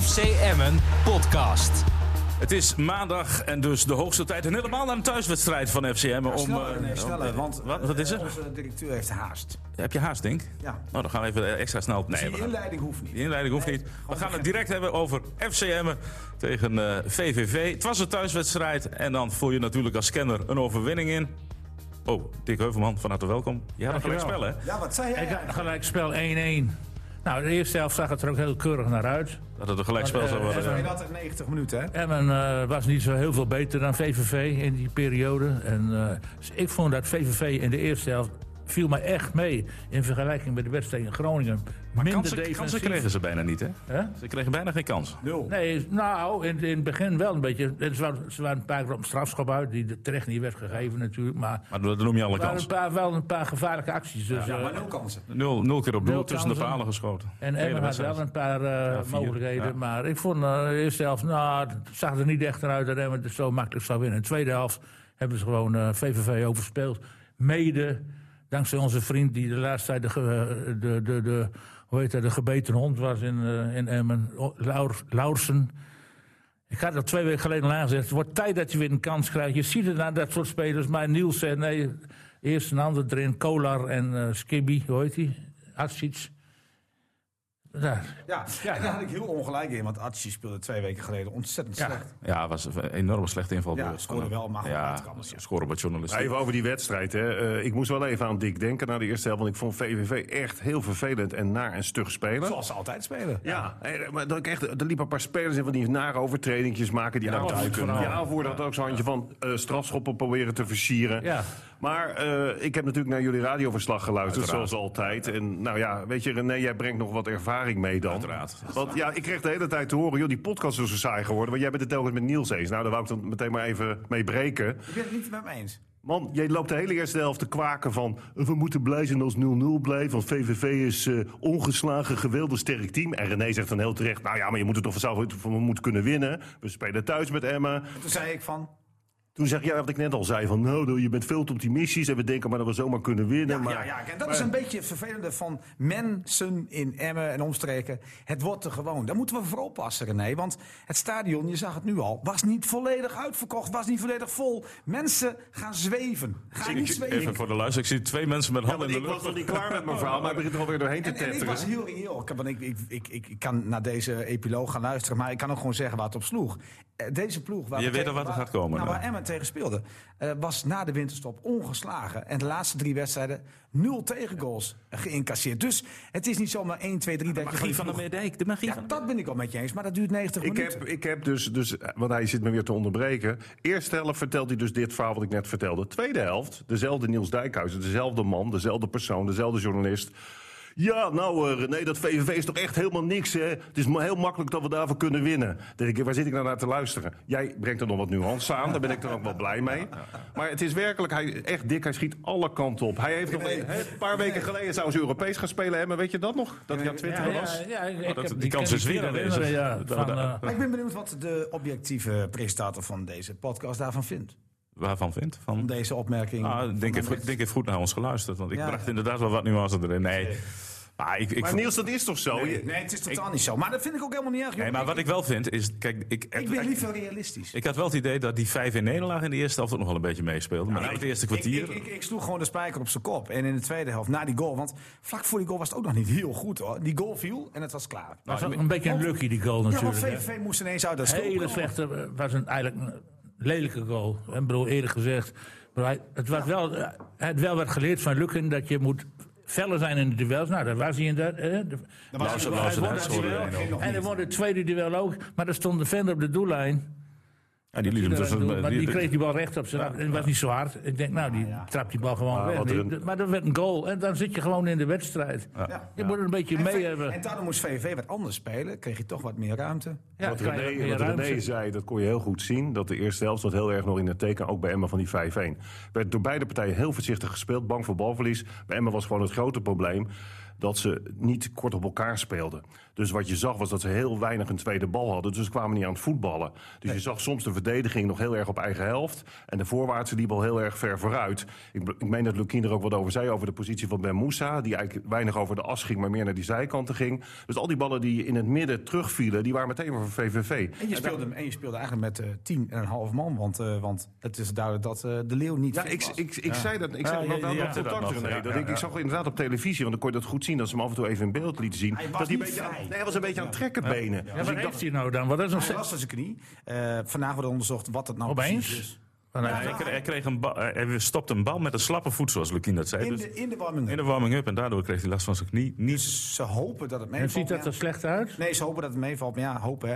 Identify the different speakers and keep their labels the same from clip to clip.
Speaker 1: FC Emmen podcast.
Speaker 2: Het is maandag en dus de hoogste tijd. En helemaal naar een thuiswedstrijd van FCM. Om,
Speaker 3: Sneller,
Speaker 2: eh,
Speaker 3: nee, sneller,
Speaker 2: om-
Speaker 3: want
Speaker 2: wat, wat is
Speaker 3: eh,
Speaker 2: er?
Speaker 3: onze directeur heeft haast.
Speaker 2: Heb je haast, Denk?
Speaker 3: Ja.
Speaker 2: Nou, dan gaan we even extra snel.
Speaker 3: Dus
Speaker 2: Nee, we
Speaker 3: die
Speaker 2: gaan-
Speaker 3: inleiding hoeft niet.
Speaker 2: die inleiding hoeft
Speaker 3: Nee, oh,
Speaker 2: niet. We
Speaker 3: gewoon
Speaker 2: gaan het
Speaker 3: beginnen.
Speaker 2: direct hebben over FCM tegen eh, VVV. Het was een thuiswedstrijd en dan voel je natuurlijk als scanner een overwinning in. Oh, Dick Heuvelman, van harte welkom. Ja, dat gelijk spel, hè?
Speaker 3: Ja, wat zei
Speaker 4: Ik
Speaker 3: jij?
Speaker 4: had gelijk spel 1-1. Nou, de eerste helft zag het er ook heel keurig naar uit.
Speaker 2: Dat het een gelijk spel
Speaker 4: Maar,
Speaker 2: zou
Speaker 4: eh,
Speaker 2: worden.
Speaker 3: Zei
Speaker 2: ja.
Speaker 3: je dat uit 90 minuten, hè?
Speaker 4: Emmen eh, was niet zo heel veel beter dan VVV in die periode. En, eh, dus ik vond dat VVV in de eerste helft viel mij echt mee in vergelijking met de wedstrijd in Groningen. Maar
Speaker 2: Kansen, kansen kregen ze bijna niet, hè? Ze kregen bijna geen kans.
Speaker 3: Nul.
Speaker 4: Nee, nou, in, in het begin wel een beetje. En Ze waren, ze waren een paar keer op een strafschop uit, die de- terecht niet werd gegeven natuurlijk. Maar
Speaker 2: Maar dat noem je alle
Speaker 4: er waren een
Speaker 2: kansen.
Speaker 4: paar, wel een paar gevaarlijke acties. Dus,
Speaker 3: Ja,
Speaker 4: eh,
Speaker 3: maar nul kansen.
Speaker 2: Nul, nul keer op doel
Speaker 4: Nul
Speaker 2: tussen de
Speaker 4: kansen.
Speaker 2: palen geschoten.
Speaker 4: En
Speaker 2: Hele
Speaker 4: Emmen had
Speaker 2: wedstrijd.
Speaker 4: wel een paar eh,
Speaker 2: Ja, vier,
Speaker 4: mogelijkheden.
Speaker 2: ja.
Speaker 4: Maar ik vond eh, de eerste helft, nou, het zag er niet echt uit dat Emmen het zo makkelijk zou winnen. In de tweede helft hebben ze gewoon eh, VVV overspeeld. Mede dankzij onze vriend die de laatste tijd de, ge- eh, de, de, de, hoe heet dat, de gebeten hond was in, eh, in Emmen, O- Laur- Laursen. Ik had dat twee weken geleden al aangezegd. Het wordt tijd dat je weer een kans krijgt. Je ziet het aan dat soort spelers. Maar Niels zei nee, eerst een ander erin. Kolar en eh Skibby, hoe heet die? Atsic. Ja,
Speaker 3: Ja, en daar had ik heel ongelijk in, want Atsi speelde twee weken geleden ontzettend
Speaker 4: Ja.
Speaker 3: slecht.
Speaker 2: Ja, was een enorm slechte invalbeurt.
Speaker 3: Ja, scoorde wel, maar gewoon uit kan, dus ja.
Speaker 2: scoren wat journalisten.
Speaker 5: Even over die wedstrijd. Hè. Eh, ik moest wel even aan Dick denken na de eerste helft. Want ik vond VVV echt heel vervelend en naar en stug spelen.
Speaker 3: Zoals ze altijd spelen.
Speaker 5: Ja, eh, maar dat ik echt, er liepen een paar spelers in van die nare overtredingjes maken die nou
Speaker 4: Alfred
Speaker 5: uit kunnen.
Speaker 4: vooral.
Speaker 5: Ja, voor dat ook zo'n handje van eh, strafschoppen proberen te versieren.
Speaker 4: Ja.
Speaker 5: Maar eh, ik heb natuurlijk naar jullie radioverslag geluisterd, zoals altijd. En nou ja, weet je, René, jij brengt nog wat ervaring mee dan.
Speaker 2: Uiteraard.
Speaker 5: Want ja, ik kreeg de hele tijd te horen, joh, die podcast is zo saai geworden. Want jij bent het telkens met Niels eens. Nou, daar wou ik dan meteen maar even mee breken.
Speaker 3: Ik ben het niet met me eens.
Speaker 5: Man, jij loopt de hele eerste helft te kwaken van... eh, we moeten blij zijn als 0-0 blijft, want VVV is eh, ongeslagen, geweldig sterk team. En René zegt dan heel terecht, nou ja, maar je moet het toch vanzelf we moeten kunnen winnen. We spelen thuis met Emma.
Speaker 3: Toen zei ik van,
Speaker 5: Toen zeg jij wat ik net al zei, van nou, je bent veel te optimistisch... en we denken maar dat we zomaar kunnen winnen.
Speaker 3: ja,
Speaker 5: maar...
Speaker 3: ja, ja. En dat is een beetje het vervelende van mensen in Emmen en omstreken. Het wordt er gewoon. Daar moeten we voor oppassen, René. Want het stadion, je zag het nu al, was niet volledig uitverkocht. Was niet volledig vol. Mensen gaan zweven. Ga niet zweven.
Speaker 2: Even voor de luister. Ik zie twee mensen met
Speaker 5: Ja,
Speaker 2: handen
Speaker 5: want ik
Speaker 2: in de
Speaker 5: was
Speaker 2: lucht.
Speaker 5: nog niet klaar met mijn verhaal, maar hij begint er alweer doorheen te
Speaker 3: En, en ik was
Speaker 5: tetteren.
Speaker 3: heel reëel. Ik, want ik, ik, ik, ik, ik kan naar deze epiloog gaan luisteren, maar ik kan ook gewoon zeggen waar het op sloeg. Eh, Deze ploeg... Waar
Speaker 2: Je
Speaker 3: we
Speaker 2: weet
Speaker 3: tegen-
Speaker 2: al wat er
Speaker 3: waar-
Speaker 2: gaat komen,
Speaker 3: Nou,
Speaker 2: hè?
Speaker 3: waar Emmen tegen speelde, eh, was na de winterstop ongeslagen. En de laatste drie wedstrijden nul tegengoals geïncasseerd. Dus het is niet zomaar 1, 2, 3 dat je
Speaker 2: Magie van de
Speaker 3: ploeg-
Speaker 2: Meerdijk. De magie
Speaker 3: Ja,
Speaker 2: van de
Speaker 3: dat ben ik al met je eens, maar dat duurt 90
Speaker 5: Ik
Speaker 3: minuten.
Speaker 5: heb, ik heb dus, dus, want hij zit me weer te onderbreken. Eerste helft vertelt hij dus dit verhaal wat ik net vertelde. Tweede helft, dezelfde Niels Dijkhuizen, dezelfde man, dezelfde persoon, dezelfde journalist. Ja, nou eh, René, dat VVV is toch echt helemaal niks, hè? Het is ma- heel makkelijk dat we daarvoor kunnen winnen. Dan denk ik, waar zit ik nou naar te luisteren? Jij brengt er nog wat nuance aan, daar ben ik er ook wel blij mee. Maar het is werkelijk, hij, echt dik, hij schiet alle kanten op. Hij heeft nog een, hè, een paar weken geleden zou ze Europees gaan spelen, hè? Maar weet je dat nog? Dat hij aan
Speaker 4: ja,
Speaker 5: Twitter was?
Speaker 4: ja, ik- ik
Speaker 2: dat-
Speaker 4: heb
Speaker 2: die kans
Speaker 4: ken
Speaker 2: is
Speaker 4: ik
Speaker 2: weer
Speaker 4: hier
Speaker 2: aanwezig.
Speaker 4: herinneren, Ja,
Speaker 2: Dat-
Speaker 4: van,
Speaker 2: dat-
Speaker 4: eh,
Speaker 3: Maar ik ben benieuwd wat de objectieve presentator van deze podcast daarvan vindt.
Speaker 2: Waarvan vindt? Van...
Speaker 3: Om deze opmerking.
Speaker 2: Ah,
Speaker 3: van
Speaker 2: denk, heeft, goed-
Speaker 3: André.
Speaker 2: denk heeft goed naar ons geluisterd. Want ik
Speaker 3: Ja.
Speaker 2: bracht inderdaad wel wat nuance erin. Nee. Maar ik, ik,
Speaker 5: Maar Niels, dat is toch zo?
Speaker 3: Nee, nee, het is totaal niet zo. Maar dat vind ik ook helemaal niet erg. joh.
Speaker 2: nee, maar
Speaker 3: Ik-
Speaker 2: wat ik wel vind is... Kijk, ik,
Speaker 3: ik ben liever realistisch.
Speaker 2: ik had wel het idee dat die 5 in Nederland in de eerste helft ook nog wel een beetje meespeelde. Maar na het eerste kwartier...
Speaker 3: Ik, ik, ik, ik sloeg gewoon de spijker op zijn kop. En in de tweede helft, na die goal. Want vlak voor die goal was het ook nog niet heel goed hoor. Die goal viel en het was klaar.
Speaker 4: was ook een beetje een lucky die goal
Speaker 3: ja, want
Speaker 4: natuurlijk. hè.
Speaker 3: VVV moest ineens uit dat schuld
Speaker 4: Hele
Speaker 3: komen.
Speaker 4: slechte, eh, was een, eigenlijk een lelijke goal. En bedoel, eerlijk gezegd, maar hij, het was wel, eh, hij had wel wat geleerd van Lukken dat je moet feller zijn in de duels. Nou, dat was hij inderdaad. eh, de-
Speaker 2: Lauwersen-
Speaker 4: hij
Speaker 2: Lauwersen-
Speaker 4: won
Speaker 2: Lauwersen-
Speaker 4: dat duel.
Speaker 2: Lauwersen-
Speaker 3: Lauwersen-
Speaker 4: En hij won het tweede duel ook, maar er stond de vender op de doellijn.
Speaker 2: Ja, die liet hem tussen...
Speaker 4: maar die
Speaker 2: die-
Speaker 4: kreeg die bal recht op zijn En het was niet zo hard. Ik denk, nou, die trapt die bal gewoon
Speaker 5: Ah,
Speaker 4: weg.
Speaker 5: wat
Speaker 4: Nee,
Speaker 5: een-
Speaker 4: d- Maar dat werd een goal. En dan zit je gewoon in de wedstrijd.
Speaker 3: Ja.
Speaker 4: Je moet er een beetje
Speaker 3: En,
Speaker 4: mee
Speaker 3: V-
Speaker 4: hebben.
Speaker 3: en daardoor moest VVV wat anders spelen. Kreeg je toch wat meer ruimte.
Speaker 4: Ja,
Speaker 5: wat
Speaker 4: krijg je
Speaker 5: René,
Speaker 4: meer
Speaker 5: wat
Speaker 4: ruimte.
Speaker 5: René zei, dat kon je heel goed zien. Dat de eerste helft zat heel erg nog in het teken, ook bij Emma van die 5-1. Werd door beide partijen heel voorzichtig gespeeld, bang voor balverlies. Bij Emma was gewoon het grote probleem. dat ze niet kort op elkaar speelden. Dus wat je zag was dat ze heel weinig een tweede bal hadden. Dus ze kwamen niet aan het voetballen. Dus je zag soms de verdediging nog heel erg op eigen helft. En de voorwaartse liep al heel erg ver vooruit. Ik, be- ik meen dat Lukien er ook wat over zei, over de positie van Ben Moussa. Die eigenlijk weinig over de as ging, maar meer naar die zijkanten ging. Dus al die ballen die in het midden terugvielen, die waren meteen maar voor VVV.
Speaker 3: En je, speelde, hem- en je speelde eigenlijk met eh, tien en een half man. Want, eh, want het is duidelijk dat eh, de Leeuw niet
Speaker 5: Ja,
Speaker 3: fit
Speaker 5: ik,
Speaker 3: was.
Speaker 5: ik, ik zei dat. Ik
Speaker 2: Ja,
Speaker 5: zei
Speaker 2: je-
Speaker 5: dat
Speaker 2: je
Speaker 5: wel
Speaker 2: hebt
Speaker 5: dat
Speaker 2: dat
Speaker 5: contact,
Speaker 2: nog,
Speaker 5: René.
Speaker 2: ja,
Speaker 5: dat
Speaker 2: ja,
Speaker 5: ik,
Speaker 2: ja.
Speaker 5: ik zag inderdaad op televisie, want dan kon je dat goed zien... dat ze hem af en toe even in beeld lieten zien.
Speaker 3: was
Speaker 5: dat hij een
Speaker 3: niet
Speaker 5: beetje aan,
Speaker 3: vrij.
Speaker 5: nee, hij was een beetje aan het trekken
Speaker 4: Ja,
Speaker 5: benen. Dus
Speaker 4: wat
Speaker 5: ik
Speaker 4: heeft
Speaker 5: dacht,
Speaker 4: hij nou dan? Wat is nog
Speaker 3: Hij
Speaker 4: steeds?
Speaker 3: was aan zijn knie. Eh, vandaag wordt onderzocht wat het nou precies
Speaker 4: Opeens?
Speaker 3: is.
Speaker 4: Van,
Speaker 2: Ja,
Speaker 4: eh,
Speaker 2: hij, kreeg, hij kreeg een bal, hij stopte een bal met een slappe voet, zoals Lukien dat zei.
Speaker 3: In
Speaker 2: Dus
Speaker 3: de, in de warming
Speaker 2: in de warming-up en daardoor kreeg hij last van zijn knie. Niet,
Speaker 3: Ze hopen dat het
Speaker 4: En
Speaker 3: meevalt.
Speaker 4: ziet dat
Speaker 3: maar
Speaker 4: er slecht uit?
Speaker 3: ja. Nee, ze hopen dat het meevalt. Maar ja, hopen hè.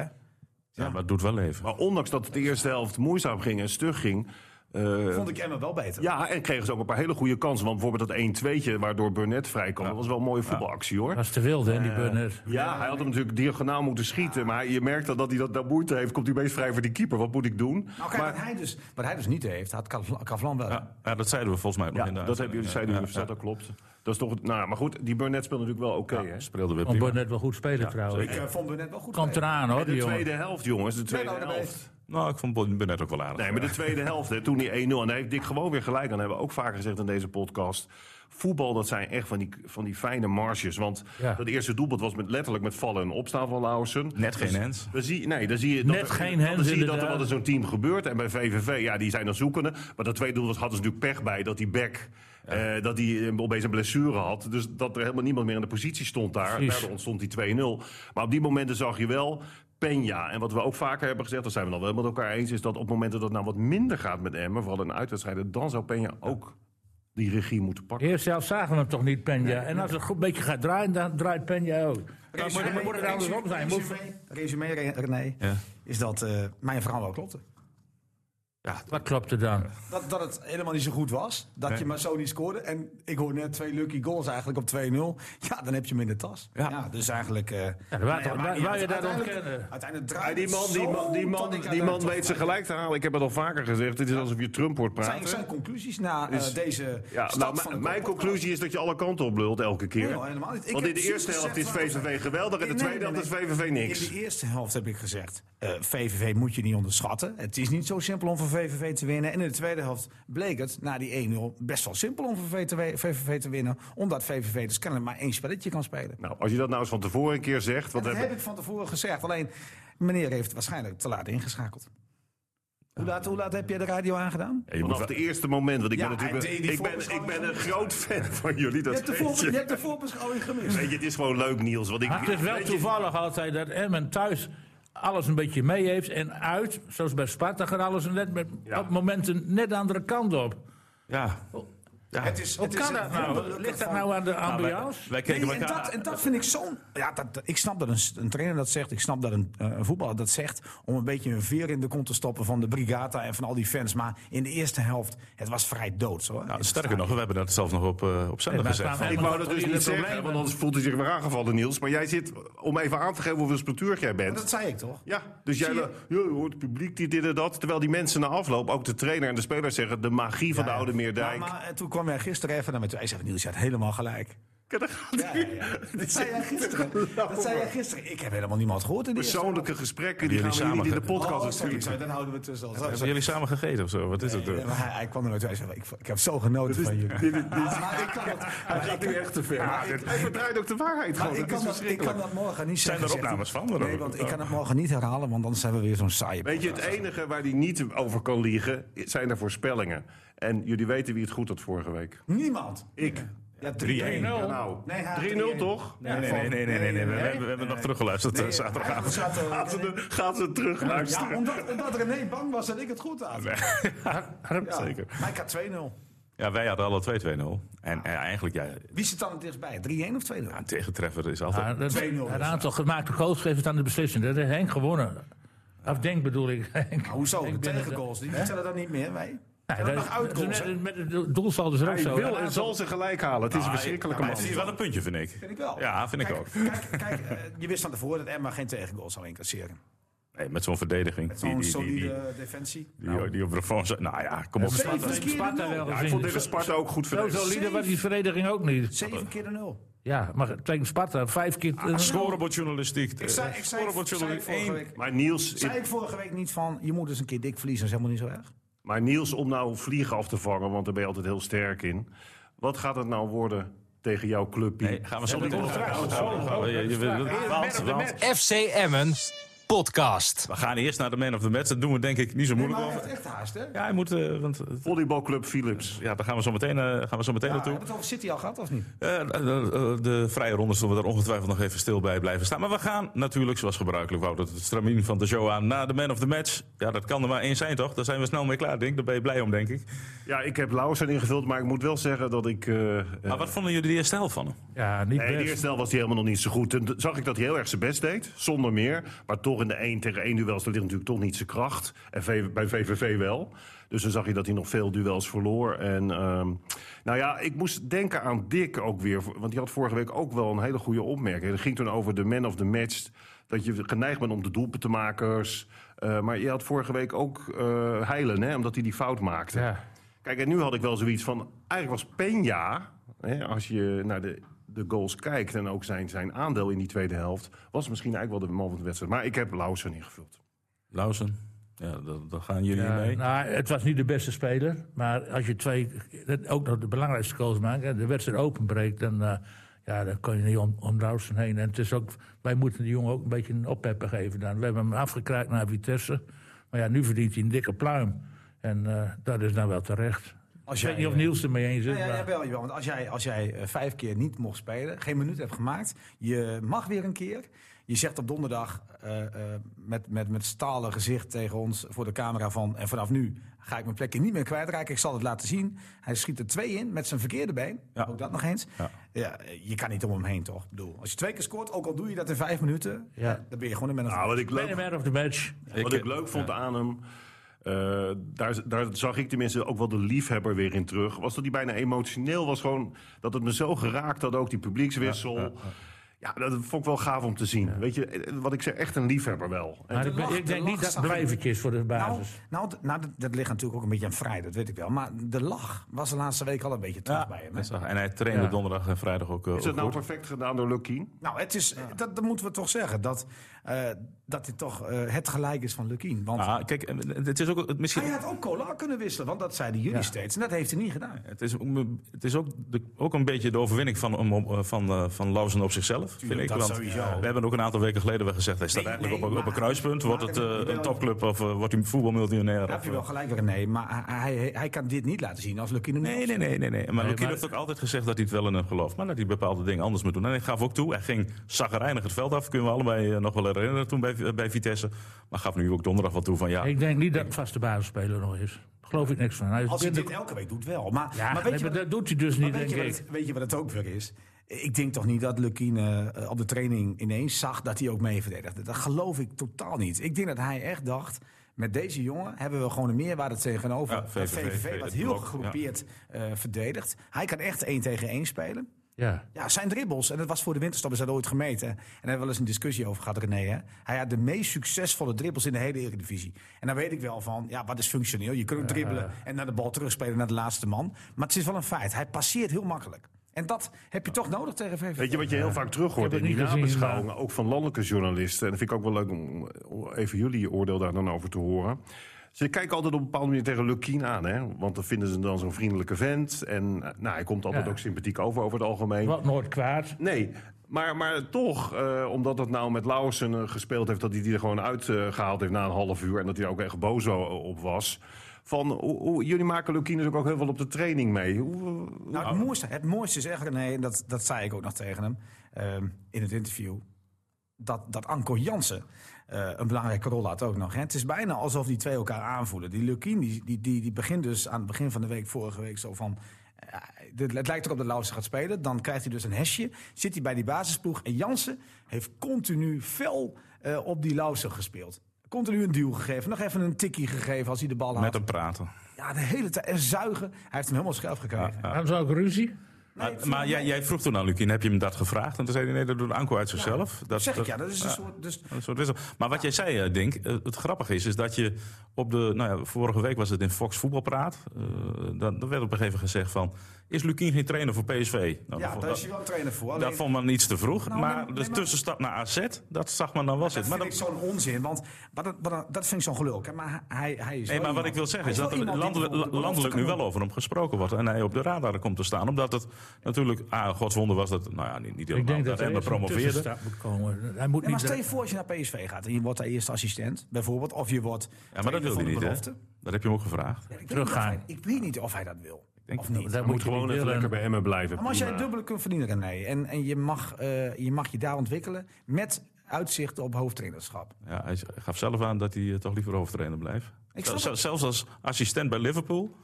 Speaker 2: ja, maar het doet wel leven.
Speaker 5: maar ondanks dat het de eerste helft moeizaam ging en stug ging... eh,
Speaker 3: Vond ik Emma wel beter.
Speaker 5: ja, en kregen ze ook een paar hele goede kansen. Want bijvoorbeeld dat 1-2'tje waardoor Burnett vrijkwam... dat was wel een mooie voetbalactie, hoor.
Speaker 4: Dat is te wild, hè, die Burnett.
Speaker 5: Ja, hij had hem natuurlijk diagonaal moeten schieten. Maar je merkt dat, dat hij dat, dat moeite heeft. Komt hij meest vrij voor die keeper. Wat moet ik doen?
Speaker 3: Nou, kijk, wat, hij dus, wat hij dus niet heeft, had Kavlan- Kavlan wel.
Speaker 2: Ja, ja, dat zeiden we volgens mij ook nog
Speaker 5: Ja,
Speaker 2: in de
Speaker 5: dat hebben jullie zeiden
Speaker 2: ja,
Speaker 5: jullie, dat klopt. Dat is toch, nou ja, maar goed, die Burnett speelde natuurlijk wel oké.
Speaker 2: ja,
Speaker 5: hè?
Speaker 2: ja, speelde weer
Speaker 4: Vond
Speaker 2: prima.
Speaker 4: Burnett wel goed spelen trouwens.
Speaker 3: Ik eh, vond Burnett wel goed.
Speaker 4: Komt eraan hoor,
Speaker 5: de
Speaker 4: die
Speaker 5: tweede
Speaker 4: jongen.
Speaker 5: helft, jongens, de tweede
Speaker 3: nou, daarbij-
Speaker 5: helft.
Speaker 2: Nou, ik vond Burnett ook wel aardig.
Speaker 5: Nee, maar de tweede helft, hè, toen die 1-0. En daar heeft Dick gewoon weer gelijk aan. hebben we ook vaker gezegd in deze podcast. Voetbal, dat zijn echt van die, van die fijne marges. Want
Speaker 4: Ja.
Speaker 5: dat eerste doelpunt was met, letterlijk met vallen en opstaan van Lauwersen.
Speaker 2: Net geen hens.
Speaker 5: Dan zie, je- nee, dan zie je, dat,
Speaker 4: Net
Speaker 5: er-
Speaker 4: geen
Speaker 5: dan
Speaker 4: hens,
Speaker 5: zie je dat er
Speaker 4: inderdaad.
Speaker 5: wat in zo'n team gebeurt. En bij VVV, ja, die zijn dan zoekende. Maar dat tweede doel was, hadden ze natuurlijk pech bij. Dat die back, eh, dat die eh, opeens een blessure had. Dus dat er helemaal niemand meer in de positie stond daar.
Speaker 4: Precies.
Speaker 5: Daardoor ontstond die 2-0. Maar op die momenten zag je wel Peña. En wat we ook vaker hebben gezegd, dat zijn we dan wel met elkaar eens... is dat op momenten dat het nou wat minder gaat met Emmen... vooral in uitwedstrijden, dan zou Peña ook die regie moeten pakken.
Speaker 4: Eerst zelf zagen we hem toch niet, Penja. En als het goed een beetje gaat draaien, dan draait Penja ook. Dan moet- dan moet het andersom zijn. Moet-
Speaker 3: Resume, resume, René,
Speaker 2: Ja.
Speaker 3: is dat eh, mijn verhaal wel klopte.
Speaker 4: Wat klopt er dan?
Speaker 3: Dat, dat het helemaal niet zo goed was. Dat je maar zo niet scoorde. En ik hoor net twee lucky goals eigenlijk op 2-0. Ja, dan heb je hem in de tas. Ja, dus eigenlijk... eh
Speaker 4: Ja, waar- waar-
Speaker 3: maakt niet
Speaker 4: waar
Speaker 3: uit.
Speaker 4: je dat
Speaker 3: Uiteindelijk-
Speaker 4: ontkennen?
Speaker 3: Uiteindelijk
Speaker 5: Ja,
Speaker 3: draait
Speaker 5: die man, die man, die man, die man weet ze gelijk te halen. Ik heb het al vaker gezegd. Het is alsof je Trump hoort praten.
Speaker 3: Zijn, zijn conclusies na eh,
Speaker 5: Dus-
Speaker 3: deze
Speaker 5: Ja,
Speaker 3: start
Speaker 5: nou,
Speaker 3: van
Speaker 5: m-
Speaker 3: de
Speaker 5: mijn
Speaker 3: podcast?
Speaker 5: conclusie is dat je alle kanten op lult elke keer.
Speaker 3: Nee, joh, helemaal niet. Ik
Speaker 5: Want in
Speaker 3: heb
Speaker 5: de
Speaker 3: precies
Speaker 5: eerste helft is
Speaker 3: gezegd wat we-
Speaker 5: VVV geweldig en de
Speaker 3: Nee,
Speaker 5: tweede
Speaker 3: nee,
Speaker 5: helft is
Speaker 3: nee.
Speaker 5: VVV niks.
Speaker 3: In de eerste helft heb ik gezegd, eh, VVV moet je niet onderschatten. Het is niet zo simpel om van VVV te winnen. En in de tweede helft bleek het, na die 1-0, best wel simpel om van VVV te we- VVV te winnen. Omdat VVV dus kennelijk maar één spelletje kan spelen.
Speaker 5: Nou, als je dat nou eens van tevoren een keer zegt.
Speaker 3: Dat
Speaker 5: Want
Speaker 3: heb
Speaker 5: hebben,
Speaker 3: ik van tevoren gezegd. Alleen, meneer heeft waarschijnlijk te laat ingeschakeld. Hoe laat, hoe laat heb jij de radio aangedaan?
Speaker 2: Ja, je moet
Speaker 5: vanaf
Speaker 2: wel-
Speaker 5: het eerste moment. Want ik
Speaker 3: Ja,
Speaker 5: ben natuurlijk
Speaker 3: hij
Speaker 5: een-
Speaker 3: deed die
Speaker 5: ik ben, ik
Speaker 3: voorbeschouwing
Speaker 5: ben een groot fan van jullie.
Speaker 3: Je
Speaker 5: Dat
Speaker 3: hebt de,
Speaker 5: weet
Speaker 3: voor, je
Speaker 5: je.
Speaker 3: hebt de voorbeschouwing gemist.
Speaker 5: Weet je, het is gewoon leuk, Niels. Want ik,
Speaker 4: Maar het is wel
Speaker 5: weet je,
Speaker 4: toevallig altijd dat Emmen thuis alles een beetje mee heeft. En uit, zoals bij Sparta, gaat alles net met,
Speaker 5: Ja.
Speaker 4: op momenten net de andere kant op.
Speaker 2: Ja. ja.
Speaker 3: Het is,
Speaker 4: Hoe
Speaker 3: het is
Speaker 4: kan
Speaker 3: een
Speaker 4: dat nou?
Speaker 3: wonderlijke
Speaker 4: Ligt dat
Speaker 3: van-
Speaker 4: nou aan de
Speaker 2: Nou, wij-
Speaker 4: ambiance?
Speaker 2: Wij keken
Speaker 3: Nee, en,
Speaker 2: elkaar
Speaker 3: dat, en dat vind ik zo'n. Ja, dat, ik snap dat een, s- een trainer dat zegt. Ik snap dat een, eh, een voetballer dat zegt. Om een beetje een veer in de kont te stoppen van de Brigata en van al die fans. Maar in de eerste helft, het was vrij dood. Hoor.
Speaker 2: Nou, sterker nog, we hebben dat zelf nog op, eh, op zender
Speaker 4: Nee, maar
Speaker 2: gezegd.
Speaker 4: staan
Speaker 2: Van,
Speaker 4: we-
Speaker 5: Ik wou dat dus
Speaker 4: Jullie
Speaker 5: niet zeggen,
Speaker 4: problemen.
Speaker 5: want anders voelt hij zich weer aangevallen, Niels. Maar jij zit, om even aan te geven hoeveel spultuur jij bent.
Speaker 3: dat zei ik toch?
Speaker 5: Ja, dus jij
Speaker 3: Zie je?
Speaker 5: wel- ja, je hoort het publiek dit, dit en dat. Terwijl die mensen na afloop, ook de trainer en de spelers zeggen... de magie van de Oude
Speaker 3: Maar,
Speaker 5: Meerdijk.
Speaker 3: maar eh, toen kwam jij gisteren even naar me toe. Hij zei: Niels, je had helemaal gelijk.
Speaker 5: Kijk, daar gaat
Speaker 3: Ja, ja, ja. Dat zei jij gisteren. Dat zei jij gisteren. Ik heb helemaal niemand gehoord in de eerste
Speaker 5: Persoonlijke gesprekken, die
Speaker 2: Jullie
Speaker 5: gaan we
Speaker 2: samen
Speaker 5: niet in de
Speaker 2: ge-
Speaker 5: podcast
Speaker 3: Oh, sorry, sorry,
Speaker 5: natuurlijk.
Speaker 3: dan houden we het tussen. Sorry,
Speaker 2: hebben
Speaker 3: sorry.
Speaker 2: jullie samen gegeten of zo? Wat is het? eh?
Speaker 3: Ja, maar hij, hij kwam er naartoe. Hij zei: ik, ik heb zo genoten
Speaker 5: Dus
Speaker 3: van jullie. Maar- maar ik kan het- maar ik- maar ik-
Speaker 5: Hij verdraait ook de waarheid
Speaker 3: Maar
Speaker 5: gewoon.
Speaker 3: ik kan,
Speaker 5: dat is
Speaker 3: dat, ik
Speaker 5: verschrikkelijk.
Speaker 3: kan dat morgen niet
Speaker 2: Zijn
Speaker 3: zeggen.
Speaker 2: er
Speaker 3: zegt
Speaker 2: opnames
Speaker 3: hij.
Speaker 2: van? Daarover?
Speaker 3: Nee, want ik kan het morgen niet herhalen, want anders zijn we weer zo'n saaie.
Speaker 5: Weet je, het enige waar hij niet over kan liegen, zijn de voorspellingen. En jullie weten wie het goed had vorige week.
Speaker 3: Niemand.
Speaker 5: Ik.
Speaker 3: Ja,
Speaker 2: 3-1.
Speaker 5: Nou,
Speaker 3: Nee, hij had
Speaker 5: 3-0
Speaker 3: 3-1.
Speaker 5: toch?
Speaker 2: Nee, nee, nee, nee, nee, nee, nee. We, hebben, we hebben nog teruggeluisterd eh,
Speaker 3: Ja,
Speaker 2: zaterdagavond.
Speaker 3: we zaten-
Speaker 5: Gaan ze, de- gaan ze terug luisteren?
Speaker 3: Ja, omdat, omdat René bang was dat ik het goed had. Ja,
Speaker 2: Zeker.
Speaker 3: Maar ik had 2-0.
Speaker 2: Ja, wij hadden alle twee 2-0. En, eh, eigenlijk, ja,
Speaker 3: Wie zit dan het dichtstbij? 3-1 of 2-0?
Speaker 2: een tegentreffer is
Speaker 4: Ja,
Speaker 2: altijd...
Speaker 4: dat-
Speaker 3: 2-0
Speaker 4: het aantal gemaakte goals geeft het aan de beslissing. Dat heeft Henk gewonnen. Of denk bedoel ik. Henk.
Speaker 3: Maar Nou, hoezo? De
Speaker 4: Henk binnen-
Speaker 3: tegengoals, die tellen dan niet meer, wij?
Speaker 4: Nee,
Speaker 3: Tellen
Speaker 4: dat
Speaker 3: nog
Speaker 4: is-
Speaker 3: uitgoals,
Speaker 4: net-
Speaker 3: hè?
Speaker 4: met het doel zal dus ook
Speaker 5: Hij
Speaker 4: zo.
Speaker 5: wil
Speaker 4: Het
Speaker 5: en
Speaker 4: aantal-
Speaker 5: zal ze gelijk halen. Het Nou, is een verschrikkelijke
Speaker 2: Maar
Speaker 5: man.
Speaker 2: hij heeft wel een puntje, vind ik.
Speaker 3: Vind ik wel.
Speaker 2: Ja, vind ik
Speaker 3: Kijk,
Speaker 2: ook.
Speaker 3: Kijk, kijk eh, je wist van tevoren dat Emma geen tegengoal zou incasseren.
Speaker 2: Nee, met zo'n verdediging.
Speaker 3: Met
Speaker 2: die,
Speaker 3: zo'n
Speaker 2: die, die, die,
Speaker 3: solide defensie.
Speaker 2: die- die- die op de vorm zat. Nou ja, kom op.
Speaker 3: Zeven
Speaker 2: Sparta-
Speaker 3: keer de
Speaker 4: Sparta
Speaker 3: nul.
Speaker 4: wel
Speaker 5: Ja, ik
Speaker 4: gezien.
Speaker 5: vond tegen Sparta ook goed
Speaker 4: Zo
Speaker 5: verdedigd.
Speaker 4: solide was die verdediging ook niet.
Speaker 3: 7 keer de 0.
Speaker 4: Ja, maar tegen Sparta vijf keer... eh,
Speaker 2: Ah, Scorebordjournalistiek.
Speaker 3: Ik zei, ik zei, ik zei
Speaker 2: Scorebordjournalistiek
Speaker 3: vorige
Speaker 2: één.
Speaker 3: week...
Speaker 5: Maar Niels,
Speaker 3: Zei ik vorige week niet van, je moet eens een keer dik verliezen, dat is helemaal niet zo erg.
Speaker 5: maar Niels, om nou vliegen af te vangen, want daar ben je altijd heel sterk in. Wat gaat het nou worden tegen jouw club?
Speaker 2: Nee, gaan we zo meteen nog over. Je- je-
Speaker 5: Want- want-
Speaker 1: FC Emmen podcast.
Speaker 2: We gaan eerst naar de man of the match. Dat doen we denk ik niet zo
Speaker 3: Nee,
Speaker 2: moeilijk
Speaker 3: maar hij
Speaker 2: over.
Speaker 3: heeft echt haast, hè?
Speaker 2: Ja, hij moet... eh, want, eh,
Speaker 5: Volleybalclub Philips.
Speaker 2: ja, daar gaan we zo meteen, eh, gaan we zo meteen
Speaker 3: Ja,
Speaker 2: naartoe.
Speaker 3: hebben we het over City al gehad, of niet?
Speaker 2: Eh, eh, eh, de vrije ronde zullen we daar ongetwijfeld nog even stil bij blijven staan. Maar we gaan natuurlijk, zoals gebruikelijk, Wouter, het stramien van de show aan naar de man of the match. Ja, dat kan er maar één zijn, toch? Daar zijn we snel mee klaar, denk ik. Daar ben je blij om, denk ik.
Speaker 5: Ja, ik heb Lauwersen ingevuld, maar ik moet wel zeggen dat ik... eh, eh,
Speaker 2: Maar wat vonden jullie de eerste helft van hem?
Speaker 4: ja, niet
Speaker 5: Nee, de
Speaker 4: best.
Speaker 5: eerste helft was hij helemaal nog niet zo goed. Toen zag ik dat hij heel erg zijn best deed, zonder meer. Maar toch in de 1 tegen 1 duels, daar ligt natuurlijk toch niet zijn kracht. En V- bij VVV wel. Dus dan zag je dat hij nog veel duels verloor. En ehm, nou ja, ik moest denken aan Dick ook weer. Want die had vorige week ook wel een hele goede opmerking. Het ging toen over de man of the match. Dat je geneigd bent om de doelpuntenmakers. Eh, maar je had vorige week ook eh Heilen, hè, omdat hij die fout maakte.
Speaker 4: Ja.
Speaker 5: Kijk, en nu had ik wel zoiets van. Eigenlijk was Peña, hè, als je naar de, de goals kijkt en ook zijn, zijn aandeel in die tweede helft, was misschien eigenlijk wel de man van de wedstrijd. Maar ik heb Lausen ingevuld.
Speaker 2: Lausen, ja, daar, daar gaan jullie
Speaker 4: Ja,
Speaker 2: mee.
Speaker 4: nou, het was niet de beste speler. Maar als je twee, dat ook nog de belangrijkste goals maakt, hè, de wedstrijd openbreekt, dan, eh, ja, dan kan je niet om, om Lauwersen heen. En het is ook, wij moeten die jongen ook een beetje een opheppen geven. Dan. We hebben hem afgekraakt naar Vitesse. Maar ja, nu verdient hij een dikke pluim. En eh, dat is nou wel terecht.
Speaker 3: Als
Speaker 4: Als
Speaker 3: jij,
Speaker 4: ik weet niet of
Speaker 3: eh,
Speaker 4: Niels ermee eens is.
Speaker 3: Ja, ja,
Speaker 4: maar-
Speaker 3: jawel, jawel. Want als jij, als jij eh, vijf keer niet mocht spelen, geen minuut hebt gemaakt, je mag weer een keer. Je zegt op donderdag eh, eh, met, met, met stalen gezicht tegen ons voor de camera van... en vanaf nu ga ik mijn plekje niet meer kwijtraken, ik zal het laten zien. Hij schiet er twee in met zijn verkeerde been,
Speaker 2: Ja.
Speaker 3: ook dat nog eens.
Speaker 2: Ja.
Speaker 3: Ja. eh, je kan niet om hem heen, toch? Ik bedoel, als je twee keer scoort, ook al doe je dat in vijf minuten...
Speaker 4: Ja.
Speaker 3: eh, dan ben je gewoon een man of the
Speaker 5: Nou, wat ik
Speaker 4: Ben
Speaker 5: leuk,
Speaker 4: je man of the match?
Speaker 5: wat ik leuk vond aan hem. eh, daar, daar zag ik tenminste ook wel de liefhebber weer in terug. Was dat hij bijna emotioneel was. Gewoon dat het me zo geraakt had, ook die publiekswissel. Ja, dat vond ik wel gaaf om te zien. Weet je, eh, wat ik zeg, echt een liefhebber wel. En
Speaker 4: Maar
Speaker 3: de
Speaker 4: ik, ben-
Speaker 3: lach-
Speaker 4: ik
Speaker 3: de
Speaker 4: denk niet
Speaker 3: lach
Speaker 4: dat
Speaker 3: zag
Speaker 4: het blijvertje is voor de
Speaker 3: Nou,
Speaker 4: basis.
Speaker 3: nou, d- nou dat, dat ligt natuurlijk ook een beetje aan vrij, dat weet ik wel. Maar de lach was de laatste week al een beetje terug bij hem. hè?
Speaker 2: Dat zag- En hij trainde
Speaker 4: Ja.
Speaker 2: donderdag en vrijdag ook, eh,
Speaker 5: is
Speaker 2: ook
Speaker 5: dat nou
Speaker 2: goed.
Speaker 5: perfect gedaan door Lukien?
Speaker 3: Nou, het is, dat, dat moeten we toch zeggen. Dat, eh, dat dit toch eh, het gelijk is van Lukien. Want
Speaker 2: Ah, kijk, eh, het is ook het- misschien...
Speaker 3: hij had ook cola kunnen wisselen. Want dat zeiden jullie
Speaker 4: Ja.
Speaker 3: steeds. En dat heeft hij niet gedaan.
Speaker 2: Het is, ook- het is ook, de, ook een beetje de overwinning van, hem op- van, eh, van Lauzen op zichzelf, vind ik.
Speaker 3: dat
Speaker 2: Want
Speaker 3: sowieso.
Speaker 2: we hebben ook een aantal weken geleden wel gezegd... hij staat
Speaker 3: Nee,
Speaker 2: eigenlijk
Speaker 3: nee,
Speaker 2: op, een- op een
Speaker 3: maar-
Speaker 2: kruispunt. Wordt
Speaker 3: maar-
Speaker 2: het eh,
Speaker 3: jawel.
Speaker 2: een topclub of eh, wordt hij voetbalmiljonair?
Speaker 3: Daar
Speaker 2: of,
Speaker 3: heb je wel
Speaker 2: eh,
Speaker 3: gelijk, René. Maar hij, hij, hij kan dit niet laten zien als Lukien hem
Speaker 2: Nee, nee, nee. nee, nee. Maar Lukien
Speaker 4: maar-
Speaker 2: heeft ook altijd gezegd dat hij het wel in hem gelooft. Maar dat hij bepaalde dingen anders moet doen. En ik gaf ook toe, hij ging zagrijnig het veld af. Kunnen we allebei eh, nog wel herinneren toen bij, eh, bij Vitesse. Maar gaf nu ook donderdag wel toe van ja...
Speaker 4: Ik denk niet dat het vaste basisspeler nog is. Daar geloof ik niks van. Hij is
Speaker 3: Als hij
Speaker 4: kinder-
Speaker 3: dit elke week doet, wel. Maar,
Speaker 4: ja,
Speaker 3: maar weet
Speaker 4: nee,
Speaker 3: je
Speaker 4: maar
Speaker 3: wat-
Speaker 4: dat doet hij dus niet,
Speaker 3: Maar
Speaker 4: denk
Speaker 3: weet, je
Speaker 4: ik.
Speaker 3: wat het, weet je wat het ook weer is? Ik denk toch niet dat Lukien eh, eh, op de training ineens zag dat hij ook mee verdedigde. Dat geloof ik totaal niet. Ik denk dat hij echt dacht. Met deze jongen hebben we gewoon een meerwaarde tegenover.
Speaker 2: Ja,
Speaker 3: Dat
Speaker 2: VVV,
Speaker 3: VVV, wat
Speaker 2: het
Speaker 3: heel
Speaker 2: blok,
Speaker 3: gegroepeerd eh, verdedigt. Hij kan echt één tegen één spelen.
Speaker 4: Ja.
Speaker 3: Ja, zijn dribbles, en dat was voor de winterstop, is dat ooit gemeten. En daar hebben we wel eens een discussie over gehad, René. Hè? Hij had de meest succesvolle dribbles in de hele Eredivisie. En dan weet ik wel van, ja, wat is functioneel? Je kunt ook dribbelen en naar de bal terugspelen naar de laatste man. Maar het is wel een feit, hij passeert heel makkelijk. En dat heb je toch nodig tegen VVV.
Speaker 5: Weet je wat je heel vaak terug
Speaker 4: Ik
Speaker 5: hoort
Speaker 4: heb
Speaker 5: in
Speaker 4: het
Speaker 5: die
Speaker 4: niet gezien,
Speaker 5: nabeschouwingen, ook van landelijke journalisten. En dat vind ik ook wel leuk om om even jullie oordeel daar dan over te horen. Ze kijken altijd op een bepaalde manier tegen Lukien aan, hè? Want dan vinden ze dan zo'n vriendelijke vent. En eh, nou, hij komt altijd
Speaker 4: Ja.
Speaker 5: ook sympathiek over, over het algemeen.
Speaker 4: Wat nooit kwaad.
Speaker 5: Nee, maar, maar toch, eh, omdat dat nou met Lauwersen eh, gespeeld heeft... dat hij die er gewoon uitgehaald gehaald heeft na een half uur... en dat hij er ook echt boos o- op was... Van, hoe- hoe- jullie maken Lukien dus ook, ook heel veel op de training mee. Hoe, hoe-
Speaker 3: Nou, het, mooiste, het mooiste is echt, René, en dat, dat zei ik ook nog tegen hem ehm, in het interview. Dat, dat Anko Jansen eh, een belangrijke rol had ook nog. Hè. Het is bijna alsof die twee elkaar aanvoelen. Die Lukien die, die, die, die begint dus aan het begin van de week vorige week zo van... eh, dit- het lijkt erop dat Lauwers gaat spelen. Dan krijgt hij dus een hesje. Zit hij bij die basisploeg. En Jansen heeft continu fel eh, op die Lauwers gespeeld. Continu een duw gegeven. Nog even een tikkie gegeven als hij de bal had.
Speaker 2: Met hem praten.
Speaker 3: Ja, de hele tijd. En zuigen. Hij heeft hem helemaal scherp gekregen.
Speaker 4: Hadden ze ook ruzie?
Speaker 2: Maar,
Speaker 3: ik vind
Speaker 2: Ah, maar
Speaker 3: het
Speaker 2: jij,
Speaker 3: wel.
Speaker 2: jij vroeg toen aan Lucien, heb je hem dat gevraagd? En toen zei hij, nee, dat doet Anko uit zichzelf.
Speaker 3: Dat zeg ik ja, dat is een soort. Dus,
Speaker 2: Een soort wissel. Maar wat jij zei, eh, Dink, eh, het grappige is, is dat je op de. Nou ja, vorige week was het in Fox Voetbalpraat. eh dan, dan werd op een gegeven moment gezegd van. Is Lukien geen trainer voor PSV? Nou,
Speaker 3: ja,
Speaker 2: dat-
Speaker 3: daar is hij wel trainer voor.
Speaker 2: dat,
Speaker 3: Alleen,
Speaker 2: vond men iets te vroeg.
Speaker 3: Nou,
Speaker 2: maar
Speaker 3: nee,
Speaker 2: de
Speaker 3: nee, maar-
Speaker 2: tussenstap naar AZ, dat zag men dan was
Speaker 3: dat
Speaker 2: het. Maar
Speaker 3: vind
Speaker 2: dan-
Speaker 3: ik zo'n onzin. Want maar dat, maar dat, dat vind ik zo'n gelul. Hè. Maar hij, hij is
Speaker 2: Nee,
Speaker 3: wel
Speaker 2: maar wat ik
Speaker 3: iemand-
Speaker 2: wil zeggen
Speaker 3: hij
Speaker 2: is dat
Speaker 3: wel
Speaker 2: er
Speaker 3: iemand die
Speaker 2: landelijk,
Speaker 3: bijvoorbeeld de
Speaker 2: landelijk nu
Speaker 3: belofte
Speaker 2: wel over hem gesproken wordt. En hij op de radar komt te staan. Omdat het natuurlijk, ah, godswonder was dat, nou ja, niet, niet
Speaker 4: Ik
Speaker 2: helemaal.
Speaker 4: denk dat er
Speaker 2: Emmen
Speaker 4: eerst een
Speaker 2: promoveerde.
Speaker 4: tussenstap moet komen. Hij moet
Speaker 3: Ja, maar
Speaker 4: niet...
Speaker 3: stel je voor als je naar PSV gaat en je wordt daar eerste assistent, bijvoorbeeld, of je wordt.
Speaker 2: Ja, maar dat wil hij niet, hè?
Speaker 3: belofte.
Speaker 2: Dat heb je hem ook gevraagd.
Speaker 3: Ik weet
Speaker 4: Teruggaan.
Speaker 3: niet of hij- Ik weet niet of hij dat wil.
Speaker 2: denk
Speaker 3: of
Speaker 2: het
Speaker 3: niet.
Speaker 4: dat
Speaker 5: Moet
Speaker 4: je
Speaker 5: gewoon
Speaker 4: niet
Speaker 5: even
Speaker 4: willen.
Speaker 5: lekker bij Emmen blijven.
Speaker 3: Maar als jij
Speaker 5: prima.
Speaker 3: dubbele kunt verdienen, René, en, en je, mag, eh, je mag je daar ontwikkelen met uitzicht op hoofdtrainerschap.
Speaker 2: Ja, hij gaf zelf aan dat hij eh, toch liever hoofdtrainer blijft.
Speaker 3: Ik
Speaker 2: Zel-
Speaker 3: snap het.
Speaker 2: zelfs als assistent bij Liverpool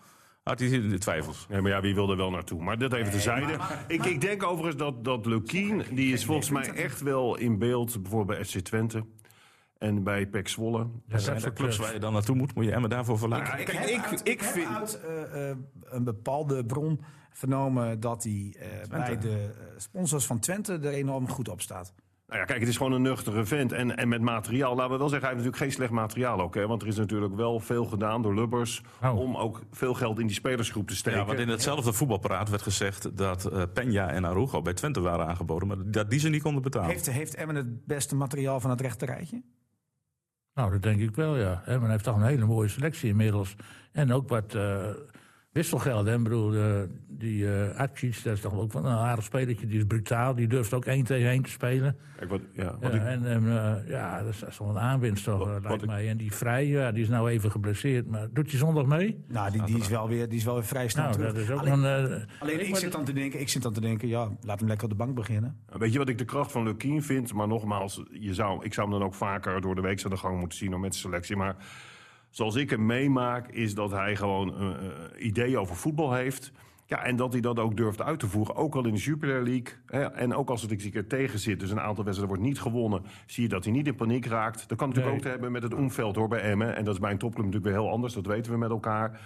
Speaker 2: had hij de twijfels.
Speaker 5: Nee, maar ja, wie wil er wel naartoe? Maar dat even tezijde. ik, ik denk overigens dat, dat Lukien, die is volgens mij echt wel in beeld, bijvoorbeeld bij FC Twente en bij PEC Zwolle.
Speaker 4: Ja, dat
Speaker 2: zijn
Speaker 4: soort
Speaker 2: er clubs waar je dan naartoe moet, moet je Emmen daarvoor verlaten.
Speaker 5: Ik-
Speaker 3: Ik, heb
Speaker 5: ik-
Speaker 3: uit, ik
Speaker 5: ik
Speaker 3: heb
Speaker 5: vind-
Speaker 3: uit eh, eh, een bepaalde bron vernomen dat hij eh, bij de eh, sponsors van Twente er enorm goed op staat.
Speaker 5: Nou ja, kijk, het is gewoon een nuchtere vent. En, en met materiaal, laten we wel zeggen, hij heeft natuurlijk geen slecht materiaal ook. Hè? Want er is natuurlijk wel veel gedaan door Lubbers
Speaker 4: Oh.
Speaker 5: om ook veel geld in die spelersgroep te steken.
Speaker 2: Ja, want in hetzelfde voetbalpraat werd gezegd dat eh Peña en Arugo bij Twente waren aangeboden, maar dat die ze niet konden betalen.
Speaker 3: Heeft, heeft Emmen het beste materiaal van het rechterrijtje?
Speaker 4: Nou, dat denk ik wel, ja. Emmen heeft toch een hele mooie selectie inmiddels. En ook wat eh, wisselgeld. Hè. Ik bedoel, eh, die eh Acic, dat is toch ook wel een aardig spelertje. Die is brutaal, die durft ook één tegen één te spelen.
Speaker 5: Kijk, wat, ja,
Speaker 4: Ja,
Speaker 5: wat ik-
Speaker 4: en en, eh, ja, dat is, dat is wel een aanwinst, toch, eh, lijkt
Speaker 5: ik-
Speaker 4: mij. En die Vrij, ja, die is nou even geblesseerd. Maar doet hij zondag mee?
Speaker 3: Nou, die, die, is wel weer, die is wel weer vrij snel
Speaker 4: Nou,
Speaker 3: terug.
Speaker 4: dat is ook
Speaker 3: alleen,
Speaker 4: een... eh,
Speaker 3: alleen ik,
Speaker 4: maar-
Speaker 3: zit dan te denken, ik zit dan te denken, ja, laat hem lekker op de bank beginnen.
Speaker 5: Weet je wat ik de kracht van Lukien vind? Maar nogmaals, je zou, ik zou hem dan ook vaker door de week aan de gang moeten zien om met de selectie. Maar zoals ik hem meemaak, is dat hij gewoon eh eh, ideeën over voetbal heeft. Ja, en dat hij dat ook durft uit te voeren. Ook al in de Super League. Hè, en ook als het eens een keer tegen zit. Dus een aantal wedstrijden wordt niet gewonnen. Zie je dat hij niet in paniek raakt. Dat kan natuurlijk
Speaker 4: Nee.
Speaker 5: ook te hebben met het omveld hoor, bij Emmen. En dat is bij een topclub natuurlijk weer heel anders. Dat weten we met elkaar.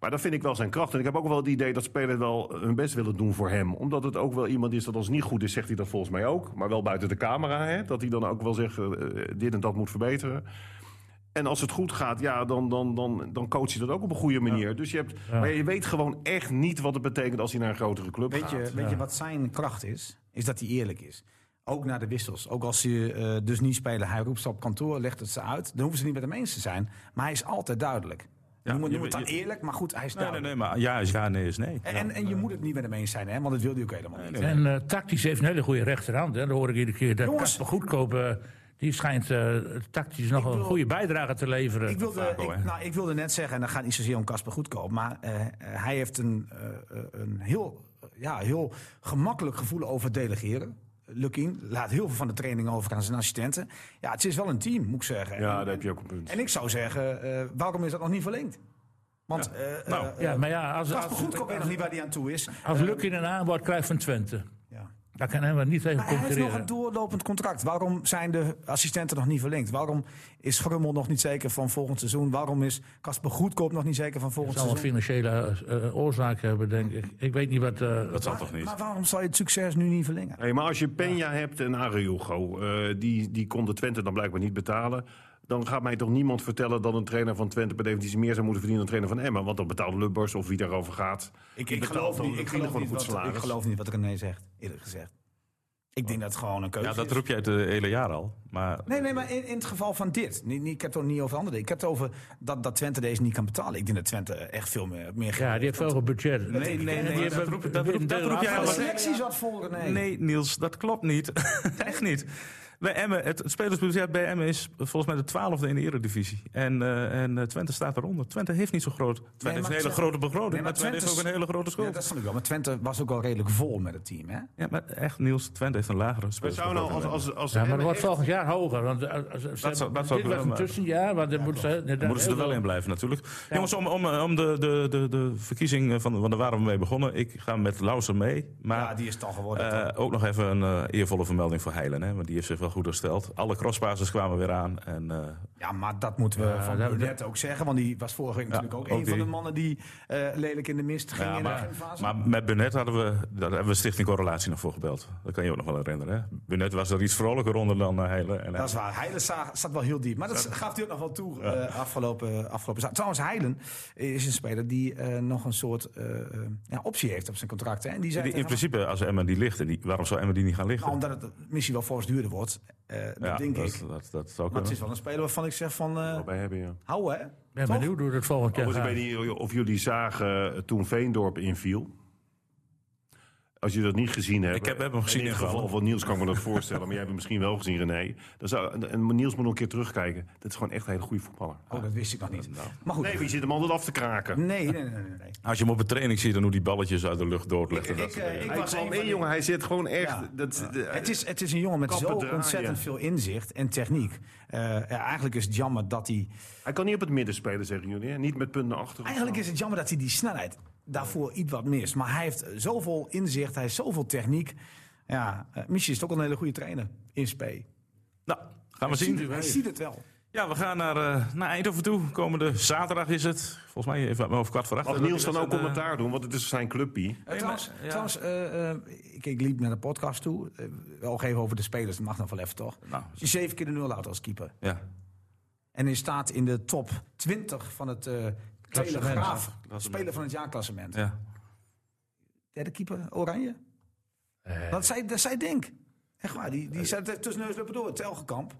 Speaker 5: Maar dat vind ik wel zijn kracht. En ik heb ook wel het idee dat spelers wel hun best willen doen voor hem. Omdat het ook wel iemand is dat als het niet goed is, zegt hij dat volgens mij ook. Maar wel buiten de camera. Hè? Dat hij dan ook wel zegt, eh, dit en dat moet verbeteren. En als het goed gaat, ja, dan, dan, dan, dan coach je dat ook op een goede manier. Dus je, hebt, Maar je weet gewoon echt niet wat het betekent als hij naar een grotere club
Speaker 3: Weet
Speaker 5: gaat.
Speaker 3: je, weet je wat zijn kracht is? Is dat hij eerlijk is. Ook naar de wissels. Ook als ze eh, dus niet spelen. Hij roept ze op kantoor, legt het ze uit. Dan hoeven ze niet met hem eens te zijn. Maar hij is altijd duidelijk. noem het,
Speaker 2: je
Speaker 3: noem het dan
Speaker 2: weet- je-
Speaker 3: eerlijk, maar goed, hij is
Speaker 2: Nee, nee,
Speaker 3: duidelijk.
Speaker 2: nee, maar ja is ja, nee is nee.
Speaker 3: En, en, en je moet het niet met hem eens zijn, hè? want dat wilde hij ook helemaal niet.
Speaker 4: En eh, tactisch heeft een hele goede rechterhand. Hè. Dan hoor ik iedere keer dat
Speaker 3: Jongens.
Speaker 4: Kasper Goedkoop... eh, die schijnt eh, tactisch nog een
Speaker 3: wil-
Speaker 4: goede bijdrage te leveren.
Speaker 3: Ik wilde,
Speaker 2: Vaco, hè?
Speaker 3: ik, nou, ik wilde net zeggen, en dat gaat niet zozeer om Casper Goedkoop... maar eh, eh, hij heeft een, eh, eh, een heel, eh, ja, heel gemakkelijk gevoel over delegeren. Lukin laat heel veel van de training over aan zijn assistenten. Ja, het is wel een team, moet ik zeggen.
Speaker 5: Ja,
Speaker 3: En-
Speaker 5: daar heb je ook een punt.
Speaker 3: En ik zou zeggen, eh, waarom is dat nog niet verlengd? Want eh
Speaker 2: Nou, Ah.
Speaker 3: eh,
Speaker 4: ja, maar ja, als, als,
Speaker 3: Casper Goedkoop weet nog niet waar hij aan toe is.
Speaker 4: Als Lucky een aanbod krijgt van Twente,
Speaker 3: Ja.
Speaker 4: daar kan Emma niet tegen
Speaker 3: Maar hij heeft nog een
Speaker 4: concurreren.
Speaker 3: doorlopend contract. Waarom zijn de assistenten nog niet verlengd? Waarom is Grummel nog niet zeker van volgend seizoen? Waarom is Casper Goedkoop nog niet zeker van
Speaker 4: Het
Speaker 3: volgend
Speaker 4: zal een
Speaker 3: seizoen?
Speaker 4: financiële eh, oorzaak hebben, denk ik. Ik weet niet wat. eh,
Speaker 2: Dat zal
Speaker 3: Maar-
Speaker 2: toch niet?
Speaker 3: Maar waarom zou je het succes nu niet verlengen?
Speaker 5: Hey, maar als je Peña hebt en Araujo, eh, die, die kon de Twente dan blijkbaar niet betalen. Dan gaat mij toch niemand vertellen dat een trainer van Twente per definitie meer zou moeten verdienen dan een trainer van Emmen. Want dan betaalt Lubbers of wie daarover gaat. die betaalt dan een vrienden gewoon een goed
Speaker 3: wat, ik
Speaker 5: salaris.
Speaker 3: geloof niet wat René zegt, eerlijk gezegd. Ik denk dat het gewoon een keuze
Speaker 2: Ja, dat
Speaker 3: is.
Speaker 2: roep jij het eh, hele jaar al. Maar
Speaker 3: Nee, nee, maar in, in het geval van dit. Niet, niet, ik heb het ook niet over andere dingen. Ik heb het over dat, dat Twente deze niet kan betalen. Ik denk dat Twente echt veel meer, meer geld
Speaker 4: ja, die heeft veel
Speaker 3: nee,
Speaker 4: budget.
Speaker 3: nee,
Speaker 4: En die
Speaker 3: maar
Speaker 4: hebben-
Speaker 2: dat roep- dat roep-
Speaker 4: een
Speaker 2: dat
Speaker 4: deel
Speaker 2: roep jij
Speaker 3: De
Speaker 4: afgelopen-
Speaker 2: al.
Speaker 3: selectie zat vol, René.
Speaker 2: Nee, Niels, dat klopt niet. Echt niet. Bij Emmen, het het spelersbudget bij Emmen is volgens mij de twaalfde in de eredivisie. En, eh, en eh, Twente staat daaronder. Twente heeft niet zo groot. Twente
Speaker 3: maar
Speaker 2: heeft een hele
Speaker 3: Twente-
Speaker 2: grote begroting,
Speaker 3: Nee,
Speaker 2: maar,
Speaker 3: maar
Speaker 2: Twente heeft
Speaker 3: Twente
Speaker 2: ook
Speaker 3: is-
Speaker 2: een hele grote schuld.
Speaker 3: Ja,
Speaker 2: Ja,
Speaker 3: dat snap ik wel. Maar Twente was ook al redelijk vol met het team, hè?
Speaker 2: maar echt Niels, Twente heeft een lagere
Speaker 5: We zouden nou
Speaker 2: spelersbegroting.
Speaker 5: als, als, als
Speaker 4: Ja, maar
Speaker 5: Emmen
Speaker 4: dat wordt
Speaker 5: echt-
Speaker 4: volgend jaar hoger. Want, eh, als- als- ze-
Speaker 2: zou- dat zou
Speaker 4: dit
Speaker 2: ik
Speaker 4: was
Speaker 2: wel,
Speaker 4: een
Speaker 2: maar-
Speaker 4: tussenjaar, want dan moeten ze, inderdaad
Speaker 2: moeten ze er
Speaker 4: heel
Speaker 2: wel in
Speaker 4: veel-
Speaker 2: blijven natuurlijk. Jongens, om, om, eh, om de, de, de, de verkiezing van, van daar waren we mee begonnen. Ik ga met Lauser mee. Maar
Speaker 3: Ja, die is het al geworden.
Speaker 2: eh, ook nog even een eh, eervolle vermelding voor Heilen. Hè, want die heeft zich wel goed doorsteld. Alle crossbases kwamen weer aan. En, eh,
Speaker 3: Ja, maar dat moeten we
Speaker 4: Ja,
Speaker 3: van
Speaker 4: dat-
Speaker 3: Burnett ook zeggen. Want die was vorige week natuurlijk ook,
Speaker 2: ook
Speaker 3: een van de
Speaker 2: die.
Speaker 3: mannen die eh, lelijk in de mist ging
Speaker 2: ja,
Speaker 3: in
Speaker 2: maar,
Speaker 3: de fase.
Speaker 2: maar met Burnett hadden we, daar hebben we Stichting Correlatie nog voor gebeld. Dat kan je ook nog wel herinneren. Hè? Burnett was er iets vrolijker onder dan eh, Heile. En,
Speaker 3: dat is waar. Heilen za- zat wel heel diep. Maar dat gaf hij ook nog wel toe eh, afgelopen, afgelopen za- Trouwens, Heilen is een speler die eh, nog een soort eh, eh, ja, optie heeft op zijn contract. Hè? En die zei
Speaker 2: die, in
Speaker 3: tegen hem,
Speaker 2: principe, als Emmen die ligt, en die, waarom zou Emmen die niet gaan liggen?
Speaker 3: nou, omdat het misschien wel fors duurder wordt. eh, dat
Speaker 2: ja,
Speaker 3: denk
Speaker 2: dat,
Speaker 3: ik.
Speaker 2: Dat, dat zou
Speaker 3: Maar
Speaker 2: kunnen.
Speaker 3: het is wel een speler waarvan ik zeg van... eh,
Speaker 5: Wij hebben, ja.
Speaker 3: hou hè.
Speaker 4: ben
Speaker 3: Toch?
Speaker 4: benieuwd hoe dat volgend jaar
Speaker 5: Overigens,
Speaker 4: gaat.
Speaker 5: ik weet niet of jullie zagen eh, toen Veendorp inviel. Als jullie dat niet gezien hebben.
Speaker 2: heb hem gezien
Speaker 5: In dit
Speaker 2: invallen.
Speaker 5: geval van Niels kan ik me dat voorstellen. Maar jij hebt hem misschien wel gezien, René. Dan zou, en- en Niels moet nog een keer terugkijken. Dat is gewoon echt een hele goede voetballer.
Speaker 3: Oh, dat wist ik nog niet. Maar goed.
Speaker 5: Nee, wie zit hem altijd af te kraken?
Speaker 3: Nee, nee, nee, nee. nee.
Speaker 2: Als je hem op een training ziet, dan hoe die balletjes uit de lucht doortleggen.
Speaker 3: Ik, eh, ik
Speaker 5: Hij
Speaker 3: was
Speaker 5: kwam
Speaker 3: een van
Speaker 5: in,
Speaker 3: die-
Speaker 5: jongen. Hij zit gewoon echt...
Speaker 3: Ja.
Speaker 5: Dat,
Speaker 3: Het is, het is een jongen met
Speaker 5: Kappen
Speaker 3: zo
Speaker 5: draaien.
Speaker 3: ontzettend veel inzicht en techniek. Eh, ja, eigenlijk is het jammer dat hij.
Speaker 5: Hij kan niet op het midden spelen, zeggen jullie. hè? Niet met punten achter. of
Speaker 3: Eigenlijk
Speaker 5: zo.
Speaker 3: is het jammer dat hij die snelheid daarvoor iets wat mist. Maar hij heeft zoveel inzicht, hij heeft zoveel techniek. Ja, eh, misschien is het ook een hele goede trainer in SP.
Speaker 2: Nou, gaan we zien.
Speaker 3: Hij ziet het wel.
Speaker 2: Ja, we gaan naar, eh, naar Eindhoven toe. Komende zaterdag is het. Volgens mij even over kwart voor acht.
Speaker 5: Mag Niels dan
Speaker 2: Dat is
Speaker 5: ook
Speaker 2: een, eh,
Speaker 5: commentaar doen? Want het is zijn clubpie.
Speaker 3: Eh, trouwens,
Speaker 2: maar- ja.
Speaker 3: trouwens, eh, eh, ik, ik liep naar de podcast toe. Eh, wel even over de spelers, dat mag nog wel even toch?
Speaker 2: Nou,
Speaker 3: Als je zeven keer de nul houdt als keeper.
Speaker 2: ja.
Speaker 3: En hij staat in de top 20 van het eh Telegraaf
Speaker 2: Klassement.
Speaker 3: Speler van het Jaar klassement.
Speaker 2: ja.
Speaker 3: derde keeper, Oranje.
Speaker 4: Eh.
Speaker 3: Dat zei, dat zei Denk. Echt waar, die, die zat er tussen neus en lippen door, Telgekamp.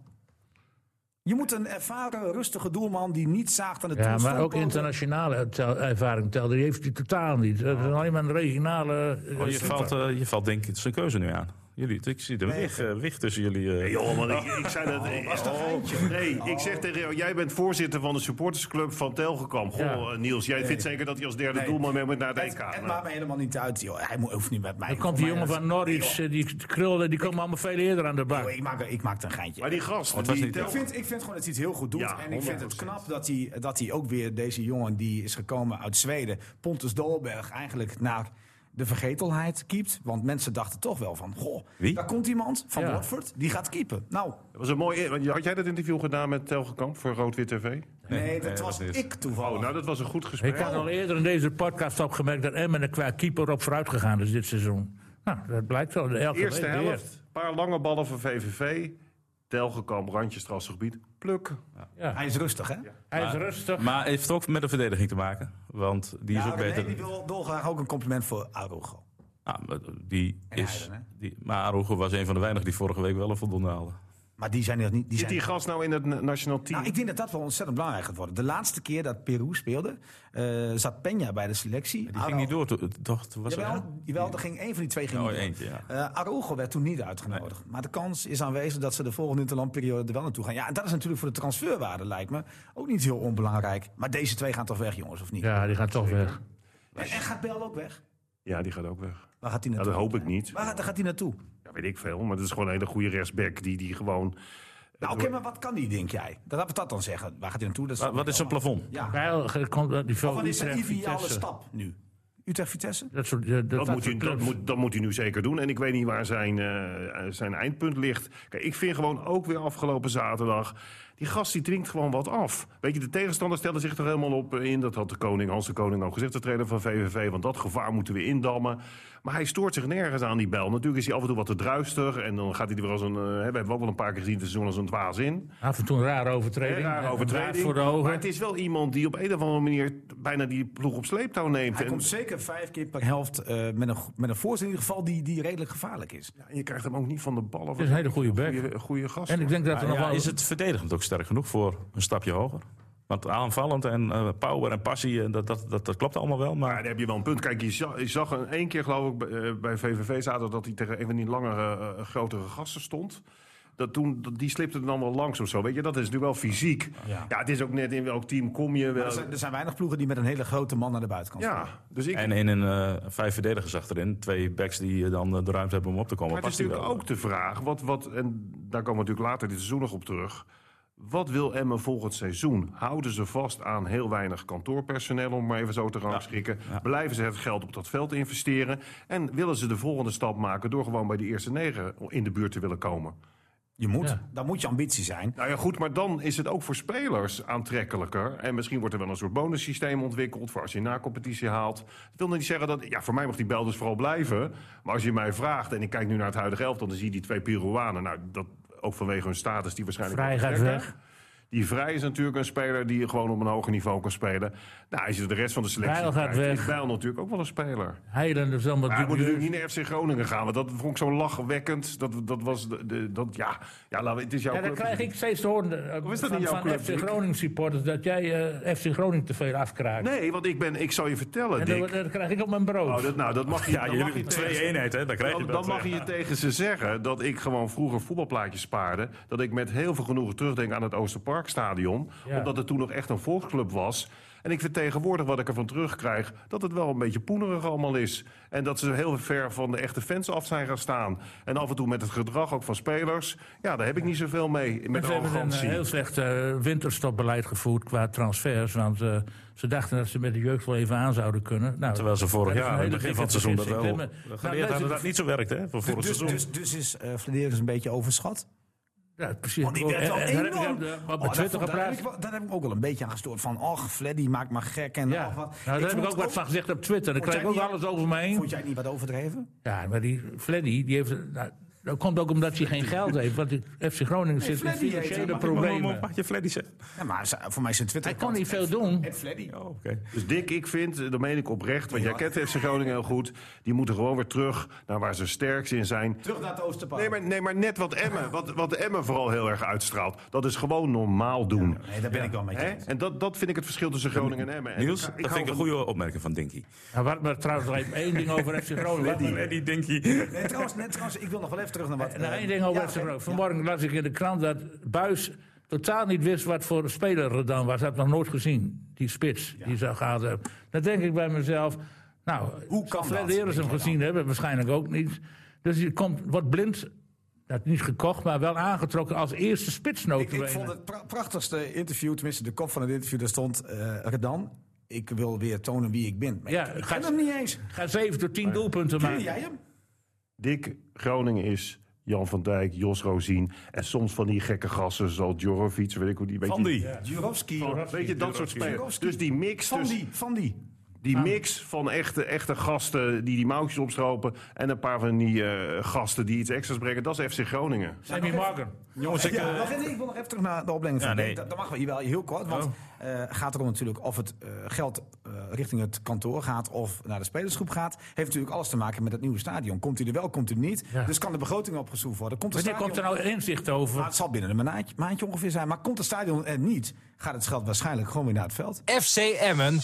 Speaker 3: Je moet een ervaren, rustige doelman die niet zaagt aan de
Speaker 4: Ja,
Speaker 3: doel
Speaker 4: maar
Speaker 3: stond,
Speaker 4: ook
Speaker 3: poten.
Speaker 4: internationale tel- ervaring telde. Die heeft hij totaal niet. Dat
Speaker 5: Ah.
Speaker 4: is alleen maar een regionale. eh,
Speaker 2: Oh, je,
Speaker 4: super.
Speaker 2: valt, eh, je valt denk ik zijn keuze nu aan. Jullie, ik zie de wicht, eh, wicht tussen jullie. eh.
Speaker 5: Joh, man, ik, ik zei dat. Oh, was dat Oh. Nee, ik zeg tegen jou, jij bent voorzitter van de supportersclub van Telgekamp. Goh,
Speaker 4: Ja.
Speaker 5: eh, Niels, jij vindt zeker dat hij als derde doelman mee moet naar de
Speaker 3: Het,
Speaker 5: EK. Nou,
Speaker 3: het
Speaker 5: maar-
Speaker 3: maakt me helemaal niet uit, joh. Hij moet- hoeft niet met mij.
Speaker 4: Dan komt
Speaker 5: Oh,
Speaker 4: die
Speaker 3: Voor mij
Speaker 4: jongen van Norwich, eh, die krullen, die komen allemaal veel eerder aan de
Speaker 5: Oh,
Speaker 3: joh,
Speaker 4: bak.
Speaker 3: ik, maak, ik maak er een geintje.
Speaker 5: Maar die gast,
Speaker 2: was
Speaker 5: die
Speaker 2: niet
Speaker 5: Tel-
Speaker 3: Ik vind, ik vind gewoon dat hij het heel goed doet.
Speaker 5: Ja,
Speaker 3: en ik vind het
Speaker 5: 100%.
Speaker 3: knap dat hij, dat hij ook weer deze jongen die is gekomen uit Zweden, Pontus Dolberg, eigenlijk naar de vergetelheid keept. Want mensen dachten toch wel van, goh,
Speaker 2: Wie?
Speaker 3: daar komt iemand van
Speaker 4: Ja.
Speaker 3: Watford, die gaat keepen. Nou,
Speaker 5: Dat was een mooi. want Had jij dat interview gedaan met Telgekamp voor Rood-Wit TV?
Speaker 3: nee, dat
Speaker 2: nee, dat
Speaker 3: was
Speaker 2: niet.
Speaker 3: ik toevallig.
Speaker 5: Oh, nou, dat was een goed gesprek.
Speaker 4: Ik had al eerder in deze podcast opgemerkt dat Emmen er qua keeper op vooruit gegaan is dit seizoen. Nou, dat blijkt wel. De elke
Speaker 5: Eerste
Speaker 4: week weer.
Speaker 5: helft, een paar lange ballen van VVV. Telgekamp, randjestrassengebied, pluk.
Speaker 3: Hij is rustig, hè?
Speaker 4: Hij is rustig.
Speaker 2: Maar heeft het ook met de verdediging te maken? Want die is
Speaker 3: Ja,
Speaker 2: ook
Speaker 3: René,
Speaker 2: beter.
Speaker 3: die wil dolgraag ook een compliment voor Arogo.
Speaker 2: Ah, maar die
Speaker 3: En
Speaker 2: is,
Speaker 3: Heiden,
Speaker 2: die, maar Arogo was een van de weinigen die vorige week wel een voldoende haalde.
Speaker 3: Maar die zijn er niet. Die
Speaker 5: Zit
Speaker 3: zijn
Speaker 5: die gast nou in het na- nationaal team?
Speaker 3: Nou, ik denk dat dat wel ontzettend belangrijk gaat worden. De laatste keer dat Peru speelde, eh, zat Peña bij de selectie.
Speaker 2: Die ging niet door, to- toch? Toen was er-
Speaker 3: Jawel, jawel, er ging één van die twee ging
Speaker 2: Oh,
Speaker 3: niet door.
Speaker 2: eentje, ja.
Speaker 3: Eh, Araujo werd toen niet uitgenodigd. Maar de kans is aanwezig dat ze de volgende interlandperiode er wel naartoe gaan. Ja, en dat is natuurlijk voor de transferwaarde, lijkt me, ook niet heel onbelangrijk. Maar deze twee gaan toch weg, jongens, of niet?
Speaker 4: Ja, die gaat toch weg.
Speaker 3: En, en gaat Bel ook weg?
Speaker 5: Ja, die gaat ook weg.
Speaker 3: Waar gaat hij
Speaker 5: Ja,
Speaker 3: naartoe?
Speaker 5: dat hoop ik niet.
Speaker 3: Waar gaat- daar gaat hij naartoe?
Speaker 5: Ja, weet ik veel, maar dat is gewoon een hele goede rechtsback die, die gewoon...
Speaker 3: Nou, oké, maar wat kan die, denk jij? Dat laat we dat dan zeggen. Waar gaat hij naartoe? Dat is
Speaker 2: Wa- wat is zijn plafond?
Speaker 3: Ja.
Speaker 4: Bijl ge- komt uit die
Speaker 3: Of
Speaker 4: niveau
Speaker 3: Wat is zijn
Speaker 4: Utrecht,
Speaker 3: ideale
Speaker 4: Vitesse.
Speaker 3: stap nu? Utrecht-Vitesse?
Speaker 4: Dat soort, eh, dat,
Speaker 5: Dat,
Speaker 4: dat
Speaker 5: moet hij,
Speaker 4: soort
Speaker 5: dat,
Speaker 4: clubs.
Speaker 5: moet, dat moet hij nu zeker doen. En ik weet niet waar zijn, eh, eh, zijn eindpunt ligt. Kijk, ik vind gewoon ook weer afgelopen zaterdag... die gast die drinkt gewoon wat af. Weet je, de tegenstanders stellen zich er helemaal op eh, in. Dat had de koning, Hans de Koning al gezegd, de trainer van VVV. Want dat gevaar moeten we indammen. Maar hij stoort zich nergens aan die bel. Natuurlijk is hij af en toe wat te druister. En dan gaat hij er weer als een... eh, we hebben ook wel een paar keer gezien dit seizoen als een dwaas in.
Speaker 4: Af en toe een rare overtreding.
Speaker 5: Een rare
Speaker 4: eh,
Speaker 5: overtreding.
Speaker 4: baard voor de
Speaker 5: Maar
Speaker 4: ogen.
Speaker 5: het is wel iemand die op een of andere manier... bijna die ploeg op sleeptouw neemt.
Speaker 3: Hij
Speaker 5: En-
Speaker 3: komt zeker vijf keer per helft eh, met, een, met een voorzet in ieder geval die, die redelijk gevaarlijk is.
Speaker 5: En je krijgt hem ook niet van de ballen. Het
Speaker 4: is een hele goede back.
Speaker 5: Goede gast.
Speaker 4: En ik denk dat er nog
Speaker 2: Ja,
Speaker 4: wel...
Speaker 2: is het verdedigend ook sterk genoeg voor een stapje hoger? Want aanvallend en eh, power en passie, eh, dat, dat, dat, dat klopt allemaal wel.
Speaker 5: Ja,
Speaker 2: Maar
Speaker 5: daar heb je wel een punt. Kijk, je zag, je zag een, één keer, geloof ik, bij- eh, bij VVV zaten dat hij tegen een van die langere, eh, grotere gasten stond. Dat toen, dat- die slipte er dan wel langs of zo. Weet je, dat is nu wel fysiek. Ja, het is ook net in welk team kom je
Speaker 3: Er
Speaker 5: wel.
Speaker 3: zijn, er zijn weinig ploegen die met een hele grote man naar de buitenkant staan.
Speaker 5: Ja, dus ik.
Speaker 2: En in een eh, vijf verdedigers achterin. Twee backs die eh, dan eh, de ruimte hebben om op te komen.
Speaker 5: maar het is
Speaker 2: Past die
Speaker 5: natuurlijk
Speaker 2: wel.
Speaker 5: ook de vraag, wat, wat, en daar komen we natuurlijk later dit seizoen nog op terug. Wat wil Emmen volgend seizoen? Houden ze vast aan heel weinig kantoorpersoneel, om maar even zo te rangschikken? Blijven ze het geld op dat veld investeren? En willen ze de volgende stap maken door gewoon bij de eerste negen in de buurt te willen komen?
Speaker 3: Je moet.
Speaker 4: Ja.
Speaker 3: Dan moet je ambitie zijn.
Speaker 5: Nou ja, goed, maar dan is het ook voor spelers aantrekkelijker. En misschien wordt er wel een soort bonussysteem ontwikkeld voor als je na competitie haalt. Dat wil nog niet zeggen dat, ja, voor mij mag die bel dus vooral blijven. Maar als je mij vraagt, en ik kijk nu naar het huidige elftal, dan zie je die twee Peruanen. Nou, dat ook vanwege hun status, die waarschijnlijk.
Speaker 4: Vrij gaat
Speaker 5: vertrekken.
Speaker 4: weg.
Speaker 5: Die Vrij is natuurlijk een speler die gewoon op een hoger niveau kan spelen. Nou, als je de rest van de selectie
Speaker 4: Bijl gaat
Speaker 5: kijkt, is
Speaker 4: weg. dus-
Speaker 5: Bijl natuurlijk ook wel een speler.
Speaker 4: Heilen is allemaal
Speaker 5: Maar hij moet
Speaker 4: dubieus.
Speaker 5: natuurlijk niet naar FC Groningen gaan, want dat vond ik zo lachwekkend. Dat, dat was de, de- dat, ja, ja laten we, het is jouw
Speaker 4: Ja, dan
Speaker 5: club,
Speaker 4: krijg
Speaker 5: dus-
Speaker 4: ik steeds te horen eh,
Speaker 5: is dat
Speaker 4: van,
Speaker 5: niet jouw
Speaker 4: van
Speaker 5: club,
Speaker 4: FC
Speaker 5: Dick?
Speaker 4: Groningen supporters dat jij eh, FC Groningen te veel afkraakt.
Speaker 5: Nee, want ik, ben, ik zal je vertellen,
Speaker 4: en dan,
Speaker 5: Dick.
Speaker 4: dan krijg ik op mijn brood.
Speaker 5: Oh, dat, nou, dat mag je,
Speaker 2: Ja,
Speaker 5: dan
Speaker 2: jullie
Speaker 5: mag je
Speaker 2: hebben twee
Speaker 5: tegen-
Speaker 2: eenheid, hè? Dan krijg je
Speaker 5: dan,
Speaker 2: dat.
Speaker 5: dan mag je
Speaker 2: ja.
Speaker 5: je tegen ze zeggen dat ik gewoon vroeger voetbalplaatjes spaarde. Dat ik met heel veel genoegen terugdenk aan het Oosterparkstadion.
Speaker 4: Ja.
Speaker 5: Omdat het toen nog echt een volksclub was. En ik vertegenwoordig wat ik ervan terugkrijg. Dat het wel een beetje poenerig allemaal is. En dat ze heel ver van de echte fans af zijn gaan staan. En af en toe met het gedrag ook van spelers. Ja, daar heb ik niet zoveel mee.
Speaker 4: En
Speaker 5: Met
Speaker 4: ze hebben een eh,
Speaker 5: arrogantie.
Speaker 4: heel slecht eh, winterstopbeleid gevoerd qua transfers. Want eh, ze dachten dat ze met de jeugd wel even aan zouden kunnen. Nou,
Speaker 2: Terwijl ze vorig
Speaker 4: dat is
Speaker 2: jaar,
Speaker 4: een
Speaker 2: aan het
Speaker 4: hele
Speaker 2: begin van het
Speaker 4: dikke
Speaker 2: seizoen, dat wel.
Speaker 4: vergissing.
Speaker 2: Nou,
Speaker 4: Ik ben me- Nou,
Speaker 2: geleerd hadden
Speaker 4: luister,
Speaker 2: dat niet zo werkt, hè? Voor vorig
Speaker 3: Dus,
Speaker 2: seizoen.
Speaker 3: dus, dus is eh Flederis een beetje overschat.
Speaker 4: Ja, precies. Eh,
Speaker 3: Want Oh, die werd wel
Speaker 4: En- en- en-
Speaker 3: enorm.
Speaker 4: en- en-
Speaker 3: Oh,
Speaker 4: Op
Speaker 3: daar
Speaker 4: Twitter
Speaker 3: vond- daar, heb
Speaker 4: geplaatst.
Speaker 3: ik wel- daar heb ik ook wel een beetje aan gestoord. Van, och, Fleddy maakt maar gek. En
Speaker 4: Ja,
Speaker 3: och,
Speaker 4: nou,
Speaker 3: wat.
Speaker 4: daar heb
Speaker 3: vond
Speaker 4: ik ook wat van gezegd op Twitter. Dan
Speaker 3: vond
Speaker 4: krijg ik ook
Speaker 3: jij niet-
Speaker 4: alles over me heen.
Speaker 3: Vond jij het niet wat overdreven?
Speaker 4: Ja, maar die Fleddy, die heeft... Nou, dat komt ook omdat hij geen geld heeft. Want die FC Groningen zit in
Speaker 3: Fleddy heeft-
Speaker 4: financiële
Speaker 3: mag
Speaker 4: problemen.
Speaker 2: Mag je Fleddy zeggen?
Speaker 3: Ja, maar ze- voor mij is het Twitter.
Speaker 4: Hij kan niet veel doen.
Speaker 3: En Fleddy.
Speaker 2: Oh, oké.
Speaker 5: Dus Dick, ik vind, eh, dat meen ik oprecht, want
Speaker 3: Ja.
Speaker 5: jij kent FC Groningen heel goed. Die moeten gewoon weer terug naar waar ze sterkst in zijn.
Speaker 3: Terug naar het Oosterpark.
Speaker 5: Nee maar, nee, maar net wat Emmen, wat, wat Emmen vooral heel erg uitstraalt. Dat is gewoon normaal doen.
Speaker 3: Nee, daar ben ik wel mee
Speaker 5: Hè?
Speaker 3: eens.
Speaker 5: En dat, dat vind ik het verschil tussen Groningen en Emmen. En
Speaker 2: Niels,
Speaker 5: ik- ik
Speaker 2: dat
Speaker 5: hou
Speaker 2: vind ik een
Speaker 5: van-
Speaker 2: goede opmerking van Dinky.
Speaker 4: Ja, Nou, wat maar trouwens nog even één ding over FC Groningen. Wat me-
Speaker 2: Fleddy, Dinky.
Speaker 3: Nee, trouwens, nee, trouwens, ik wil nog wel even terug naar wat...
Speaker 4: nog
Speaker 3: eh,
Speaker 4: Nou, één ding over
Speaker 3: ja,
Speaker 4: FC
Speaker 3: oké.
Speaker 4: Groningen. Vanmorgen las ik in de krant dat Buis totaal niet wist wat voor een speler er dan was. Hij had nog nooit gezien, die spits die zou gehaald hebben. Dan denk ik bij mezelf, nou,
Speaker 3: Hoe kan
Speaker 4: Fred
Speaker 3: dat,
Speaker 4: Heeres hem
Speaker 3: denk ik
Speaker 4: gezien hebben? Waarschijnlijk ook niet. Dus je komt, wordt blind, dat niet gekocht, maar wel aangetrokken als eerste spits
Speaker 3: Ik, ik vond
Speaker 4: notabene.
Speaker 3: het pra- prachtigste interview, tenminste de kop van het interview, daar stond eh Redan. Ik wil weer tonen wie ik ben. Maar
Speaker 4: Ja,
Speaker 3: ik, ik
Speaker 4: ga-
Speaker 3: ken hem niet eens.
Speaker 4: Ga 7 tot 10 doelpunten
Speaker 3: Ken
Speaker 4: maken.
Speaker 3: jij hem?
Speaker 5: Dick, Groningen is Jan van Dijk, Jos Rozien. En soms van die gekke gassen zoals Djorovic, weet ik hoe die... Weet
Speaker 2: Van
Speaker 5: je-
Speaker 2: die.
Speaker 3: Jurovski.
Speaker 5: Weet je, dat soort spelers.
Speaker 3: Djurowski.
Speaker 5: Dus die mix,
Speaker 3: Van
Speaker 5: dus
Speaker 3: die, van die. Ah.
Speaker 5: die mix van echte, echte gasten die die mouwtjes opstropen... en een paar van die eh, gasten die iets extra's brengen, dat is FC Groningen.
Speaker 4: Sammy Morgan.
Speaker 2: Jongens, ik...
Speaker 3: Ja,
Speaker 2: eh,
Speaker 3: nog even- ik wil nog even terug naar de opleiding van
Speaker 2: Ja,
Speaker 3: Dijk.
Speaker 2: nee.
Speaker 3: dat, dat mag wel, jawel, heel kort.
Speaker 4: Oh.
Speaker 3: Want eh gaat erom natuurlijk of het eh, geld eh, richting het kantoor gaat of naar de spelersgroep gaat. Heeft natuurlijk alles te maken met het nieuwe stadion. Komt hij er wel, komt hij er niet.
Speaker 4: Ja.
Speaker 3: Dus kan de begroting opgezoefd worden. Komt het
Speaker 4: Wanneer
Speaker 3: stadion...
Speaker 4: komt er nou inzicht over?
Speaker 3: Maar het zal binnen een maandje, maandje ongeveer zijn. Maar komt het stadion er niet, gaat het geld waarschijnlijk gewoon weer naar het veld.
Speaker 1: FC Emmen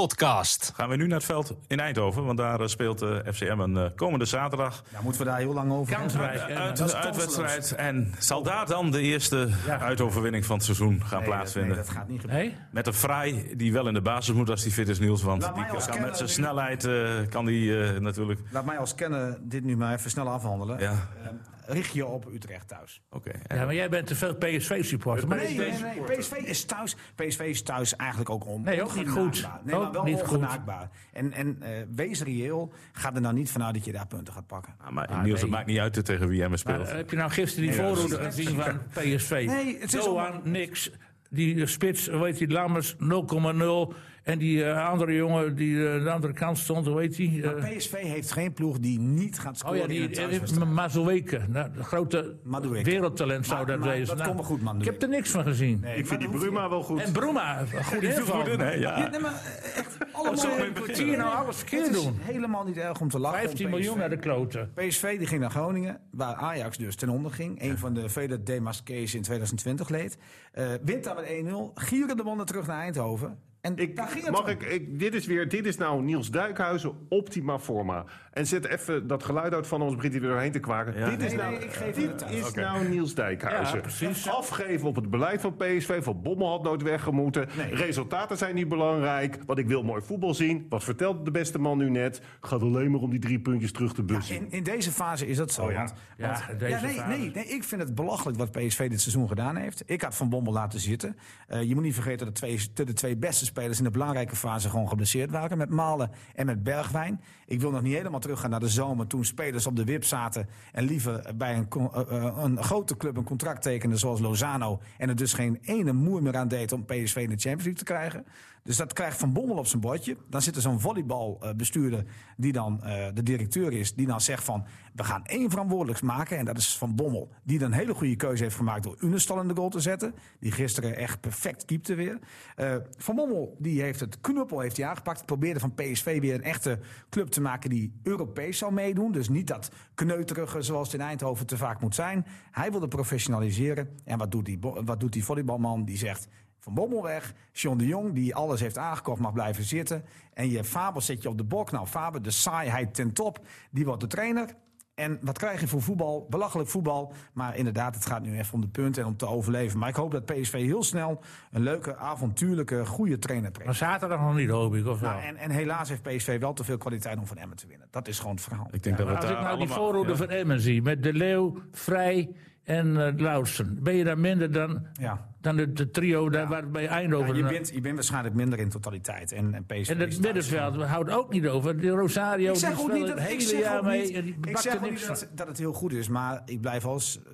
Speaker 1: podcast.
Speaker 2: Gaan we nu naar het veld in Eindhoven, want daar eh, speelt FCM FC Emmen eh, komende zaterdag Eh,
Speaker 3: Nou, moeten we daar heel lang over hebben.
Speaker 4: Kansrijk. hè,
Speaker 2: uit,
Speaker 4: maar-
Speaker 3: eh, is
Speaker 2: een uitwedstrijd. En zal daar dan de eerste uitoverwinning van het seizoen gaan
Speaker 3: Nee, dat,
Speaker 2: plaatsvinden?
Speaker 3: nee, dat gaat niet gebeuren.
Speaker 4: Nee?
Speaker 2: Met een Vrij die wel in de basis moet als die fit is, Niels. Want
Speaker 3: Laat
Speaker 2: die
Speaker 3: mij als
Speaker 2: kan
Speaker 3: kenner
Speaker 2: met zijn
Speaker 3: nu-
Speaker 2: snelheid eh, kan die eh, natuurlijk...
Speaker 3: Laat mij als kenner dit nu maar even snel afhandelen.
Speaker 2: Ja,
Speaker 3: Ehm, richt je op Utrecht thuis.
Speaker 2: oké.
Speaker 4: Ja, maar jij bent te veel PSV-supporter. Maar
Speaker 3: Nee,
Speaker 4: ik denk-
Speaker 3: nee, nee, PSV is thuis. PSV is thuis eigenlijk ook on,
Speaker 4: Nee, ook niet
Speaker 3: ongenaakbaar.
Speaker 4: goed.
Speaker 3: Nee, maar
Speaker 4: Ook
Speaker 3: wel
Speaker 4: niet goed.
Speaker 3: ongenaakbaar. En, en eh, wees reëel. Ga er nou niet vanuit dat je daar punten gaat pakken.
Speaker 2: Ah, maar Niels, het
Speaker 4: nee.
Speaker 2: maakt niet uit tegen wie Emmen speelt.
Speaker 4: Maar heb je nou gisteren die voorhoede gezien van PSV?
Speaker 3: Nee, het is
Speaker 4: Doan, niks. Die eh, spits, weet die Lammers, 0,0. En die eh, andere jongen die eh, aan de andere kant stond, hoe heet die? eh,
Speaker 3: PSV heeft geen ploeg die niet gaat
Speaker 4: oh
Speaker 3: scoren
Speaker 4: ja,
Speaker 3: in
Speaker 4: die
Speaker 3: een thuiswedstrijd.
Speaker 4: eh, Mazueke. Nou, de grote
Speaker 3: Madueke.
Speaker 4: wereldtalent zou
Speaker 3: Maar-
Speaker 4: dat
Speaker 3: maar
Speaker 4: wezen.
Speaker 3: dat
Speaker 4: Nou,
Speaker 3: komt wel goed, Madueke.
Speaker 4: Ik heb er niks van gezien.
Speaker 5: Ik vind die Bruma wel goed.
Speaker 4: En Bruma, een goede
Speaker 2: Die viel
Speaker 4: inval.
Speaker 2: goed in, hè? Ja.
Speaker 3: Ja, nee, maar eh, echt allemaal...
Speaker 4: Zo een kwartier nou alles verkeerd
Speaker 3: Het is
Speaker 4: doen.
Speaker 3: helemaal niet erg om te lachen. om
Speaker 4: 15
Speaker 3: PSV.
Speaker 4: miljoen naar de kloten.
Speaker 3: PSV die ging naar Groningen, waar Ajax dus ten onder ging. Een van de vele demasqués in 2020 leed. Eh, wint daar met 1-0. Gieren de mannen terug naar Eindhoven. En
Speaker 5: Ik,
Speaker 3: daar ging het
Speaker 5: mag
Speaker 3: om.
Speaker 5: ik, ik, dit is weer, dit is nou Niels Duikhuizen, optima forma. En zet even dat geluid uit van ons Brit die er doorheen te kwaken. Dit is,
Speaker 3: Nee,
Speaker 5: nou,
Speaker 3: nee, ik geef hem de
Speaker 5: dit
Speaker 3: tijd.
Speaker 5: is nou Niels Dijkhuizen.
Speaker 4: Ja, precies.
Speaker 5: Afgeven op het beleid van PSV, van Bommel had nooit weggemoeten. Resultaten zijn niet belangrijk, want ik wil mooi voetbal zien. Wat vertelt de beste man nu net? Het gaat alleen maar om die drie puntjes terug te bussen.
Speaker 3: In, in deze fase is dat zo.
Speaker 5: ja.
Speaker 3: want-
Speaker 4: Oh Ja,
Speaker 3: want-
Speaker 4: in deze
Speaker 3: nee,
Speaker 4: fase.
Speaker 3: nee, nee, ik vind het belachelijk wat PSV dit seizoen gedaan heeft. Ik had Van Bommel laten zitten. Eh, je moet niet vergeten dat twee, de twee beste spelers in de belangrijke fase gewoon geblesseerd waren. Met Malen en met Bergwijn. Ik wil nog niet helemaal teruggaan naar de zomer toen spelers op de wip zaten. En liever bij een, con- eh, eh, een grote club een contract tekenden zoals Lozano. En er dus geen ene moer meer aan deed om PSV in de Champions League te krijgen. Dus dat krijgt Van Bommel op zijn bordje. Dan zit er zo'n volleybalbestuurder die dan eh, de directeur is. Die dan zegt van, we gaan één verantwoordelijks maken. En dat is Van Bommel. Die dan een hele goede keuze heeft gemaakt door Unestal in de goal te zetten. Die gisteren echt perfect keepte weer. Eh, van Bommel die heeft het knuppel heeft hij aangepakt. Probeerde van PSV weer een echte club te maken die Europees zou meedoen. Dus niet dat kneuterige zoals het in Eindhoven te vaak moet zijn. Hij wilde professionaliseren. En wat doet die, bo- wat doet die volleybalman? Die zegt... Van Bommel weg, John de Jong, die alles heeft aangekocht, mag blijven zitten. En je Faber zet je op de bok. Nou, Faber, de saaiheid ten top, die wordt de trainer. En wat krijg je voor voetbal? Belachelijk voetbal. Maar inderdaad, het gaat nu even om de punten en om te overleven. Maar ik hoop dat PSV heel snel een leuke, avontuurlijke, goede trainer
Speaker 4: Maar
Speaker 3: trekt.
Speaker 4: zaterdag nog niet, hoop ik. Of wel?
Speaker 3: Nou, en, en helaas heeft PSV wel te veel kwaliteit om van Emmen te winnen. Dat is gewoon het verhaal.
Speaker 2: Ik denk dat we
Speaker 4: Maar
Speaker 2: het
Speaker 4: als ik
Speaker 2: daar
Speaker 4: nou die
Speaker 2: eh, allemaal-
Speaker 4: voorhoede
Speaker 2: ja.
Speaker 4: van Emmen zie, met De Leeuw, Vrij en eh Lauwersen, ben je daar minder dan,
Speaker 3: Ja.
Speaker 4: dan het het trio daar waar bij
Speaker 3: Ja,
Speaker 4: Eindhoven...
Speaker 3: je, bent, je bent waarschijnlijk minder in totaliteit. En, en PSV
Speaker 4: en
Speaker 3: is
Speaker 4: het
Speaker 3: thuis
Speaker 4: middenveld houdt ook niet over. Die Rosario
Speaker 3: Ik zeg
Speaker 4: die
Speaker 3: ook
Speaker 4: speelt
Speaker 3: niet dat
Speaker 4: het
Speaker 3: ik
Speaker 4: hele
Speaker 3: zeg
Speaker 4: jaar
Speaker 3: ook
Speaker 4: mee
Speaker 3: niet-
Speaker 4: en die
Speaker 3: ik
Speaker 4: bakt
Speaker 3: zeg
Speaker 4: er
Speaker 3: ook niet
Speaker 4: niks
Speaker 3: dat,
Speaker 4: van.
Speaker 3: dat het heel goed is, maar ik blijf als eh,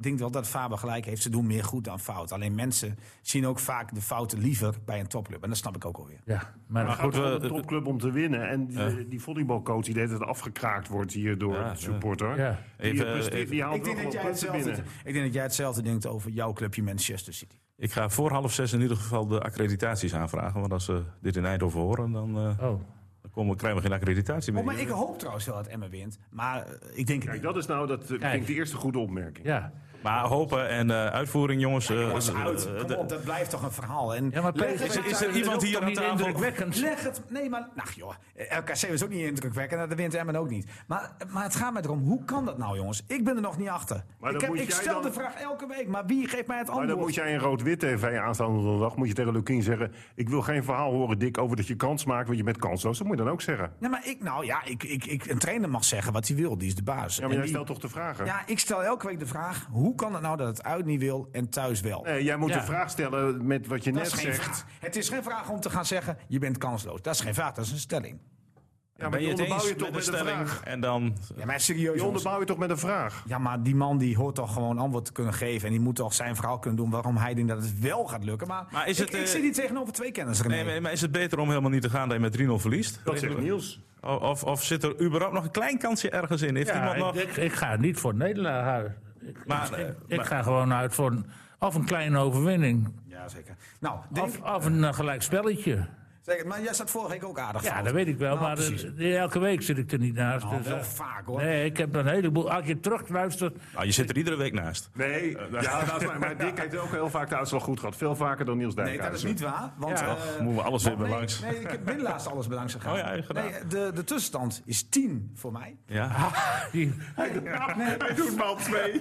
Speaker 3: denk wel dat Faber gelijk heeft. Ze doen meer goed dan fout. Alleen mensen zien ook vaak de fouten liever bij een topclub. En dat snap ik ook alweer.
Speaker 4: Ja, maar,
Speaker 3: Ah.
Speaker 5: Maar goed,
Speaker 2: goed, we-
Speaker 5: een topclub om te winnen. En die, die volleybalcoach die deed dat afgekraakt wordt hier door
Speaker 2: Ja,
Speaker 5: de supporter.
Speaker 4: ja.
Speaker 5: Die,
Speaker 2: Even,
Speaker 5: presteert-
Speaker 2: even-
Speaker 5: die haalt
Speaker 3: Ik denk,
Speaker 5: wel
Speaker 3: dat jij
Speaker 5: gewoon punten
Speaker 3: hetzelfde,
Speaker 5: binnen.
Speaker 3: ik denk dat jij hetzelfde denkt over jouw clubje Manchester City.
Speaker 2: Ik ga voor half zes in ieder geval de accreditaties aanvragen. Want als ze dit in Eindhoven horen, dan, eh,
Speaker 4: oh.
Speaker 2: dan komen, krijgen we geen accreditatie meer.
Speaker 3: Oh, maar ik hoop trouwens wel dat Emma wint. Maar eh, ik denk het
Speaker 5: Kijk,
Speaker 3: niet.
Speaker 5: dat is nou dat, eh, vind
Speaker 4: Kijk.
Speaker 5: ik de eerste goede opmerking.
Speaker 4: Ja.
Speaker 2: Maar hopen en eh, uitvoering, jongens. eh,
Speaker 3: Dat is
Speaker 2: eh,
Speaker 3: uit.
Speaker 2: eh,
Speaker 3: Kom
Speaker 2: de-
Speaker 3: op, dat blijft toch een verhaal. En
Speaker 4: ja, maar
Speaker 3: leg
Speaker 4: PSV
Speaker 3: het maar
Speaker 2: is
Speaker 3: uit.
Speaker 2: er iemand hier
Speaker 4: toch
Speaker 2: aan
Speaker 4: niet
Speaker 2: tafel?
Speaker 4: indrukwekkend?
Speaker 3: Leg het. Nee, maar. Nou, joh. eh, LKC was ook niet indrukwekkend. en Dat wint Emmen ook niet. Maar, maar het gaat mij erom. Hoe kan dat nou, jongens? Ik ben er nog niet achter.
Speaker 5: Maar
Speaker 3: ik
Speaker 5: dan
Speaker 3: heb,
Speaker 5: moet
Speaker 3: ik
Speaker 5: jij
Speaker 3: stel
Speaker 5: dan-
Speaker 3: de vraag elke week. Maar wie geeft mij het
Speaker 5: Maar dan
Speaker 3: antwoord?
Speaker 5: moet jij in rood-wit TV aanstaande donderdag moet je tegen Lukien zeggen... ik wil geen verhaal horen, Dick, over dat je kans maakt, want je bent kansloos. Dat moet je dan ook zeggen.
Speaker 3: Nee, maar ik, nou ja, ik, ik, ik, een trainer mag zeggen wat hij wil. Die is de baas.
Speaker 5: Ja, maar
Speaker 3: En
Speaker 5: jij
Speaker 3: die-
Speaker 5: stelt toch de vragen?
Speaker 3: ja, ik stel elke week de vraag. Hoe kan het nou dat het uit niet wil en thuis wel?
Speaker 5: Nee, jij moet
Speaker 4: Ja.
Speaker 5: de vraag stellen met wat je
Speaker 3: Dat
Speaker 5: Eh, net
Speaker 3: is geen
Speaker 5: zegt.
Speaker 3: vraag. Het is geen vraag om te gaan zeggen, je bent kansloos. Dat is geen vraag, dat is een stelling.
Speaker 5: Ja, maar
Speaker 2: ben
Speaker 5: die
Speaker 2: je het
Speaker 5: onderbouw
Speaker 2: eens
Speaker 5: je
Speaker 2: met
Speaker 5: toch
Speaker 2: de
Speaker 5: met een
Speaker 2: stelling?
Speaker 5: vraag?
Speaker 2: En dan...
Speaker 3: Ja, maar serieus.
Speaker 5: Die
Speaker 3: jongens.
Speaker 5: onderbouw je toch met een vraag?
Speaker 3: Ja, maar die man die hoort toch gewoon antwoord te kunnen geven. En die moet toch zijn verhaal kunnen doen waarom hij denkt dat het wel gaat lukken. Maar,
Speaker 2: Maar is
Speaker 3: ik,
Speaker 2: het,
Speaker 3: ik
Speaker 2: eh,
Speaker 3: zit hier tegenover twee kennis, René.
Speaker 2: Nee, maar- maar is het beter om helemaal niet te gaan dat je met 3-0 verliest?
Speaker 5: Dat zegt Niels.
Speaker 2: O- Of, of zit er überhaupt nog een klein kansje ergens in? Heeft
Speaker 4: Ja,
Speaker 2: iemand nog...
Speaker 4: ik, ik ga niet voor Nederland houden. Ik,
Speaker 2: Maar,
Speaker 4: ik,
Speaker 2: eh,
Speaker 4: ik
Speaker 2: maar-
Speaker 4: ga gewoon uit voor een, of een kleine overwinning.
Speaker 3: Ja, zeker. Nou, denk,
Speaker 4: Of, of een eh, gelijk spelletje.
Speaker 3: zeker. Maar jij zat vorige week ook aardig
Speaker 4: Ja,
Speaker 3: voor.
Speaker 4: dat weet ik wel,
Speaker 3: Nou,
Speaker 4: maar eh,
Speaker 3: precies.
Speaker 4: elke week zit ik er niet naast.
Speaker 3: Nou,
Speaker 4: dus,
Speaker 3: wel
Speaker 4: eh,
Speaker 3: vaak, hoor.
Speaker 4: Nee, ik heb een heleboel. Als je terug luistert,
Speaker 2: Nou, je zit er iedere week naast.
Speaker 5: Nee, ja, dat is waar. maar Dick heeft ook heel vaak de uitslag goed gehad. Veel vaker dan Niels
Speaker 3: Nee, dat is
Speaker 5: Dijkhuizen.
Speaker 3: niet waar. Want,
Speaker 4: Ja.
Speaker 3: eh,
Speaker 2: moeten we alles
Speaker 3: want
Speaker 2: weer
Speaker 3: nee,
Speaker 2: langs.
Speaker 3: Nee, ik heb binnenlaatst alles belangs gegaan.
Speaker 2: Oh ja, heb je gedaan.
Speaker 3: Nee, de, de tussenstand is 10 voor mij.
Speaker 2: Ja.
Speaker 4: die,
Speaker 5: Hij doet maar op twee.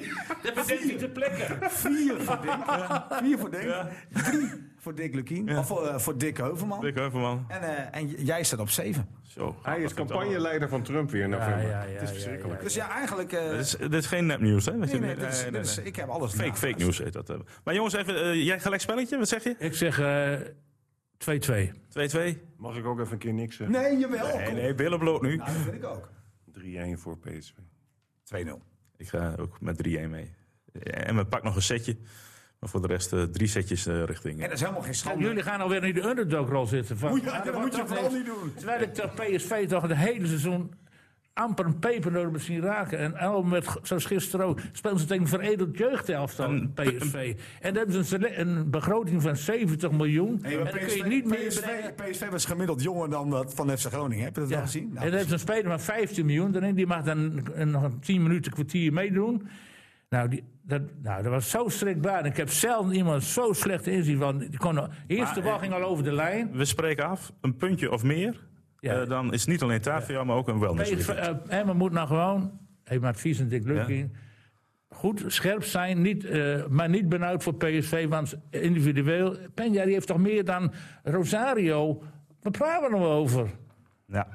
Speaker 4: dat bedenkt niet te plekken.
Speaker 3: 4 voor Dick. 4 voor Dick. 3 voor Dick Lukien. Of voor, eh, voor Dick Heuvelman.
Speaker 2: Dick Heuvelman.
Speaker 3: En, eh, en j- jij staat op 7.
Speaker 2: Zo.
Speaker 5: Hij is campagneleider van Trump weer in
Speaker 4: Ja,
Speaker 5: november.
Speaker 4: ja,
Speaker 5: het
Speaker 4: ja,
Speaker 5: is
Speaker 4: ja,
Speaker 5: verschrikkelijk.
Speaker 3: Dus ja, eigenlijk. eh,
Speaker 2: Dit is, dit is geen nepnieuws, hè?
Speaker 3: nee, nee, dit is- dit is- Ik heb alles.
Speaker 2: Fake,
Speaker 3: gedaan.
Speaker 2: fake nieuws heet dat. eh. Maar jongens, even, eh, jij gelijk spelletje, wat zeg je? 2-2?
Speaker 4: Ik zeg eh,
Speaker 3: Oh,
Speaker 4: 2-2.
Speaker 5: Mag ik ook even een keer niks zeggen?
Speaker 3: Nee, jawel.
Speaker 2: Nee,
Speaker 3: kom.
Speaker 2: nee, billen bloot nu.
Speaker 3: Nou, dat vind ik ook.
Speaker 5: 3-1 voor PSV.
Speaker 3: 2-0.
Speaker 2: Ik ga ook met 3-1 mee. En we pak nog een setje. Maar voor de rest eh, drie setjes eh, richting.
Speaker 3: En dat is helemaal geen schande.
Speaker 4: Jullie gaan alweer in de underdog-rol zitten. Van,
Speaker 3: Moet je- Oh, dat moet je vooral niet doen.
Speaker 4: Terwijl ik dat PSV toch het hele seizoen amper een pepernoot heb zien raken. En al met, zoals gisteren ook, speelden ze tegen een veredeld jeugdhelftal PSV. En dat is een, sele- een begroting van 70 miljoen.
Speaker 3: Hey,
Speaker 4: en
Speaker 3: maar
Speaker 4: dan kun je niet meer brengen.
Speaker 3: PSV, PSV was gemiddeld jonger dan dat van FC Groningen. Heb je dat
Speaker 4: Ja.
Speaker 3: al gezien?
Speaker 4: en
Speaker 3: Nou,
Speaker 4: dat is een speler van 15 miljoen erin. Die mag dan een- nog een 10 minuten, kwartier meedoen. Nou, die, dat, nou, dat was zo schrikbaar. Ik heb zelden iemand zo slecht inzien. Van, die kon, de eerste
Speaker 3: eh,
Speaker 4: bal ging al over de lijn.
Speaker 2: We spreken af, een puntje of meer.
Speaker 4: Ja.
Speaker 2: Eh, dan is het niet alleen Tavia, maar ook een wellness.
Speaker 4: PSV,
Speaker 2: weekend.
Speaker 4: eh, Emmen moet nou gewoon, even advies en Dick Lukking. Goed, scherp zijn, niet, eh, maar niet benauwd voor PSV. Want individueel, Penja die heeft toch meer dan Rosario. Waar praten we nou over?
Speaker 2: Ja,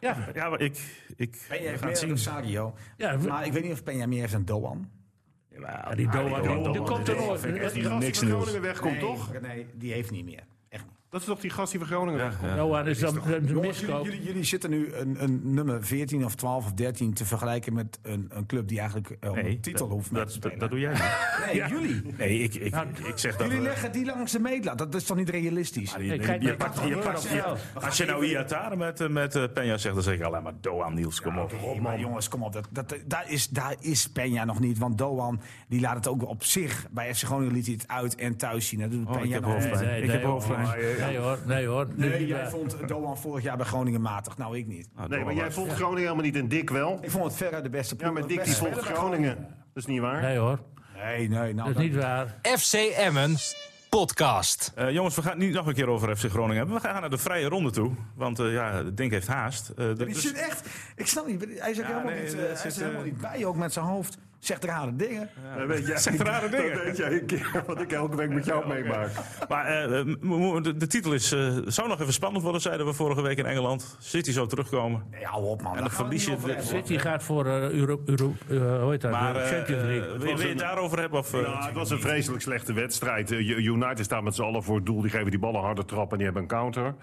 Speaker 4: Ja,
Speaker 2: ja maar ik, ik
Speaker 3: Penja
Speaker 2: we gaan
Speaker 3: heeft meer
Speaker 2: het zien.
Speaker 3: dan Rosario.
Speaker 4: Ja, we-
Speaker 3: Maar ik weet niet of Penja meer heeft dan Doan.
Speaker 4: Ja, Ah,
Speaker 3: Ah,
Speaker 4: die Doan, die, die komt er nooit.
Speaker 5: Die gast
Speaker 2: niks
Speaker 5: van
Speaker 2: nieuws.
Speaker 5: Groningen wegkomt,
Speaker 3: Nee,
Speaker 5: toch?
Speaker 3: Nee, die heeft niet meer. Echt niet.
Speaker 5: Dat is toch die gast die van Groningen weg.
Speaker 2: Ja.
Speaker 4: Johan is dan een
Speaker 3: Jongens, jullie,
Speaker 4: miskoop.
Speaker 3: jullie, jullie zitten nu een, een nummer 14 of 12 of 13 te vergelijken met een, een club die eigenlijk eh, om een titel
Speaker 2: dat-
Speaker 3: hoeft mee te
Speaker 2: dat,
Speaker 3: spelen.
Speaker 2: dat, dat doe jij niet.
Speaker 3: nee, jullie.
Speaker 2: Nee, ik, ik, ik zeg dat...
Speaker 3: Jullie
Speaker 2: eh,
Speaker 3: leggen die langs de meetlat. Dat is toch niet realistisch?
Speaker 2: maar je-
Speaker 4: Ik kijk
Speaker 2: je
Speaker 4: naar
Speaker 2: pakt-
Speaker 4: wat er
Speaker 2: je
Speaker 4: gebeurt
Speaker 2: pakt-
Speaker 4: op
Speaker 2: je-
Speaker 4: veld.
Speaker 2: Als je nou Iatare met, eh, met eh, Peña zegt, dan zeg ik alleen maar Doan Niels, kom op. Nou,
Speaker 3: Nee, maar jongens, kom op. Dat, dat, daar, is, daar is Peña nog niet. Want Doan die laat het ook op zich. Bij FC Groningen liet hij het uit en thuis zien. Dat doet
Speaker 2: Oh,
Speaker 3: Peña
Speaker 2: ik heb
Speaker 3: nog niet.
Speaker 2: hoofdpijn. Ik heb
Speaker 4: hoor.
Speaker 2: hoofdpijn.
Speaker 4: Nee hoor, nee hoor.
Speaker 3: Nee,
Speaker 4: Die,
Speaker 3: jij
Speaker 4: eh,
Speaker 3: vond Doan vorig jaar bij Groningen matig. Nou, ik niet.
Speaker 2: Nou,
Speaker 5: Nee,
Speaker 2: Doan
Speaker 5: maar jij
Speaker 2: was-
Speaker 5: volgt Groningen helemaal niet en Dick wel.
Speaker 3: Ik vond het verre de beste
Speaker 5: Ja,
Speaker 3: ploeg.
Speaker 5: maar Dick die
Speaker 3: Beste
Speaker 5: volgt
Speaker 3: speler.
Speaker 5: Groningen. Dat is niet waar.
Speaker 4: Nee hoor,
Speaker 3: Nee, nee. Nou,
Speaker 4: dat is niet waar.
Speaker 1: FC Emmen podcast.
Speaker 2: Eh, jongens, we gaan het niet nog een keer over FC Groningen hebben. We gaan naar de vrije ronde toe. Want eh, ja, Dink heeft haast. Eh,
Speaker 3: Die
Speaker 2: dus-
Speaker 3: zit echt... Ik snap niet. Hij is ook
Speaker 2: Ja,
Speaker 3: helemaal,
Speaker 2: nee,
Speaker 3: niet, eh,
Speaker 2: dat
Speaker 3: hij
Speaker 2: zit,
Speaker 3: zit helemaal
Speaker 2: eh,
Speaker 3: niet bij, ook met zijn hoofd. Zegt rare dingen.
Speaker 5: Dat weet jij,
Speaker 2: Zegt rare dingen.
Speaker 5: Dat weet jij een keer, wat ik elke week met jou meemaak.
Speaker 2: Maar eh, eh, m- m- de, de titel is, eh, zou nog even spannend worden, zeiden we vorige week in Engeland. City zou terugkomen.
Speaker 3: Nee, hou op, man.
Speaker 2: En
Speaker 3: Daar
Speaker 2: dan
Speaker 3: gaan
Speaker 2: verlies
Speaker 3: we niet
Speaker 2: je
Speaker 3: over
Speaker 2: de-
Speaker 3: hebben.
Speaker 4: City gaat voor eh, Euro, Euro, eh, hoe heet dat?
Speaker 2: Maar
Speaker 4: eh,
Speaker 2: eh,
Speaker 4: Champions
Speaker 2: eh,
Speaker 4: League.
Speaker 2: wil, wil je het daarover hebben? Of, eh,
Speaker 5: Ja, het was een vreselijk slechte wedstrijd. Eh, U- United staan met z'n allen voor het doel. Die geven die ballen harde trap en die hebben een counter.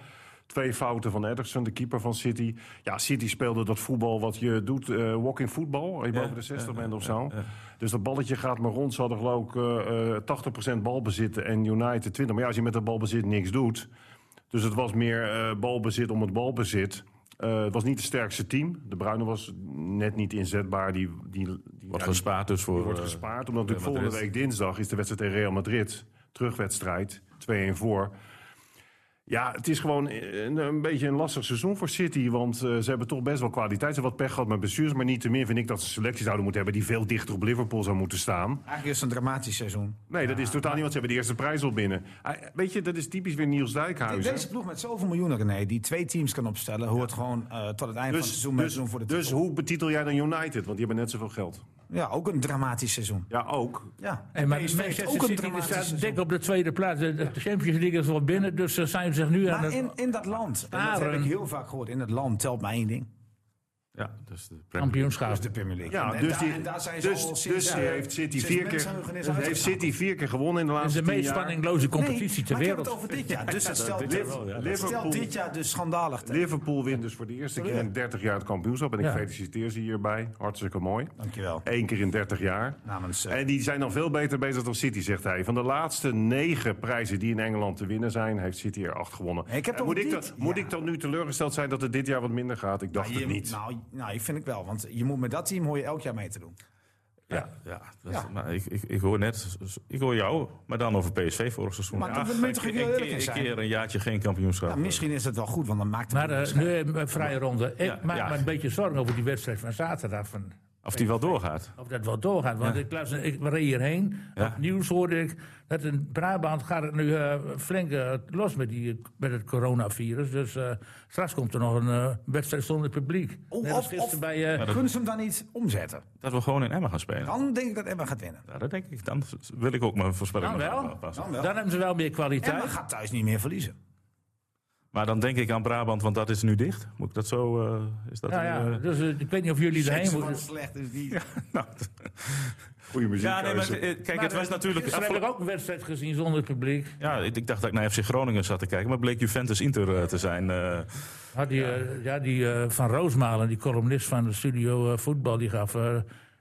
Speaker 5: Twee fouten van Ederson, de keeper van City. Ja, City speelde dat voetbal wat je doet, eh, walking voetbal. Als je boven de 60 bent of zo. Dus dat balletje gaat maar rond. Ze hadden geloof ik eh, eh, 80% balbezit en United 20. Maar ja, als je met dat balbezit niks doet... Dus het was meer eh, balbezit om het balbezit. Eh, het was niet het sterkste team. De Bruyne was net niet inzetbaar. Die, die, die, ja,
Speaker 2: Wordt
Speaker 5: die-
Speaker 2: gespaard dus voor...
Speaker 5: die wordt
Speaker 2: eh,
Speaker 5: gespaard. Omdat natuurlijk volgende
Speaker 2: Madrid.
Speaker 5: week dinsdag is de wedstrijd tegen Real Madrid. Terugwedstrijd. 2-1 voor. Ja, het is gewoon een, een beetje een lastig seizoen voor City. Want eh, ze hebben toch best wel kwaliteit. Ze hebben wat pech gehad met bestuurs. Maar niet te min vind ik dat ze selecties zouden moeten hebben... die veel dichter op Liverpool zou moeten staan.
Speaker 3: Eigenlijk is het een dramatisch seizoen.
Speaker 5: Nee, dat is totaal niet, want ze hebben de eerste prijs al binnen. Ah, weet je, dat is typisch weer Niels Dijkhuizen. Dus-
Speaker 3: Deze ploeg met zoveel miljoenen, René, die twee teams kan opstellen, hoort gewoon eh, tot het einde van het
Speaker 5: Dus,
Speaker 3: seizoen mee te
Speaker 5: dus,
Speaker 3: doen voor de
Speaker 5: dus
Speaker 3: titel.
Speaker 5: hoe betitel jij dan United? Want die hebben net zoveel geld.
Speaker 3: Ja, ook een dramatisch seizoen.
Speaker 5: Ja, ook.
Speaker 3: Ja,
Speaker 4: Hey, maar
Speaker 3: PSV heeft ook
Speaker 4: Manchester
Speaker 3: een
Speaker 4: City die
Speaker 3: dramatisch
Speaker 4: staat
Speaker 3: seizoen.
Speaker 4: dik op de tweede plaats. De de Champions League is wel binnen, dus ze zijn zich nu aan
Speaker 3: Maar
Speaker 4: het...
Speaker 3: in, in dat land, en dat heb ik
Speaker 4: Aaron.
Speaker 3: heel vaak gehoord, in dat land telt maar één ding.
Speaker 2: ja, dus de Premier League.
Speaker 4: kampioenschap.
Speaker 3: Dus de Premier League.
Speaker 5: Ja,
Speaker 3: en,
Speaker 5: dus,
Speaker 3: en daar-
Speaker 5: die,
Speaker 3: en daar zijn ze
Speaker 5: dus,
Speaker 3: al
Speaker 5: dus
Speaker 3: sinds,
Speaker 5: die
Speaker 3: eh,
Speaker 5: heeft City
Speaker 3: sinds
Speaker 5: vier keer, dus
Speaker 3: mensenheugen is
Speaker 5: heeft
Speaker 3: uitgeschakeld.
Speaker 5: City vier keer gewonnen in de
Speaker 4: Het is
Speaker 5: laatste
Speaker 4: de
Speaker 5: tien
Speaker 4: meest
Speaker 5: jaar.
Speaker 4: spanningloze competitie
Speaker 3: Nee,
Speaker 4: ter
Speaker 3: maar ik heb
Speaker 4: wereld.
Speaker 3: het over dit jaar. Dus het stelt,
Speaker 5: Liv-
Speaker 3: dit, het stelt
Speaker 5: Liverpool,
Speaker 3: dit jaar dus schandalig tegen.
Speaker 5: Liverpool wint dus voor de eerste keer in 30 jaar het kampioenschap. En ik
Speaker 4: Ja.
Speaker 5: feliciteer ze hierbij. Hartstikke mooi.
Speaker 3: Dankjewel.
Speaker 5: Eén keer in 30 jaar.
Speaker 3: Namens, eh,
Speaker 5: En die zijn dan veel beter bezig dan City, zegt hij. Van de laatste negen prijzen die in Engeland te winnen zijn, heeft City er acht gewonnen.
Speaker 3: Nee, ik heb
Speaker 5: En
Speaker 3: toch
Speaker 5: moet ik,
Speaker 3: dit-
Speaker 5: dan, moet
Speaker 3: ja.
Speaker 5: ik dan nu teleurgesteld zijn dat het dit jaar wat minder gaat? Ik dacht
Speaker 3: Je-
Speaker 5: het niet.
Speaker 3: Nou, nou, ik vind ik wel. Want je moet met dat team hoor je elk jaar mee te doen.
Speaker 2: Ja, ja, dat is-
Speaker 3: Ja.
Speaker 2: maar ik, ik, ik hoor net, ik hoor jou, maar dan over PSV vorig seizoen.
Speaker 3: Maar dat
Speaker 2: Ach,
Speaker 3: moet je toch
Speaker 2: een-
Speaker 3: ook wel
Speaker 2: een
Speaker 3: eerlijk
Speaker 2: keer-
Speaker 3: in zijn?
Speaker 2: Een keer een jaartje geen kampioenschap. eh,
Speaker 3: Nou, misschien is dat wel goed, want dan maakt het
Speaker 4: Maar
Speaker 3: niet
Speaker 4: eh,
Speaker 3: uit.
Speaker 4: nu een vrije ronde. Ik
Speaker 2: Ja,
Speaker 4: maak
Speaker 2: ja.
Speaker 4: me een beetje zorgen over die wedstrijd van zaterdag. Van,
Speaker 2: Of die wel doorgaat.
Speaker 4: of dat wel doorgaat. Want ik, luister, ik reed hierheen.
Speaker 2: Ja.
Speaker 4: Op het nieuws hoorde ik dat in Brabant gaat het nu eh, flink eh, los met, die, met het coronavirus. Dus eh, straks komt er nog een eh, wedstrijd zonder publiek.
Speaker 3: Oh,
Speaker 4: Net als
Speaker 3: of-
Speaker 4: gisteren
Speaker 3: of-
Speaker 4: bij, eh,
Speaker 3: Kunnen ze hem dan niet omzetten?
Speaker 2: Dat we gewoon in Emmen gaan spelen.
Speaker 3: Dan denk ik dat Emma gaat winnen.
Speaker 2: Ja, dat denk ik. Dan wil ik ook mijn voorspelling
Speaker 4: Dan wel.
Speaker 2: nog aanpassen.
Speaker 3: Dan wel.
Speaker 4: dan hebben ze wel meer kwaliteit.
Speaker 3: Emma gaat thuis niet meer verliezen.
Speaker 2: Maar dan denk ik aan Brabant, want dat is nu dicht. Moet ik dat zo... eh, is dat
Speaker 4: Ja,
Speaker 2: een,
Speaker 4: ja.
Speaker 2: eh,
Speaker 4: Dus eh, ik weet niet of jullie erheen moeten.
Speaker 3: slecht is die.
Speaker 2: nou,
Speaker 5: Goeie muziek.
Speaker 2: ja, nee, maar eh, kijk, het was natuurlijk...
Speaker 4: Gisteren heb ik
Speaker 2: afgelopen-
Speaker 4: ook een wedstrijd gezien zonder publiek.
Speaker 2: Ja, ik, ik dacht dat ik naar FC Groningen zat te kijken, maar bleek Juventus-Inter eh, te zijn. eh.
Speaker 4: Had die, eh, ja, die eh, van Roosmalen, die columnist van de studio eh, voetbal, die gaf. eh,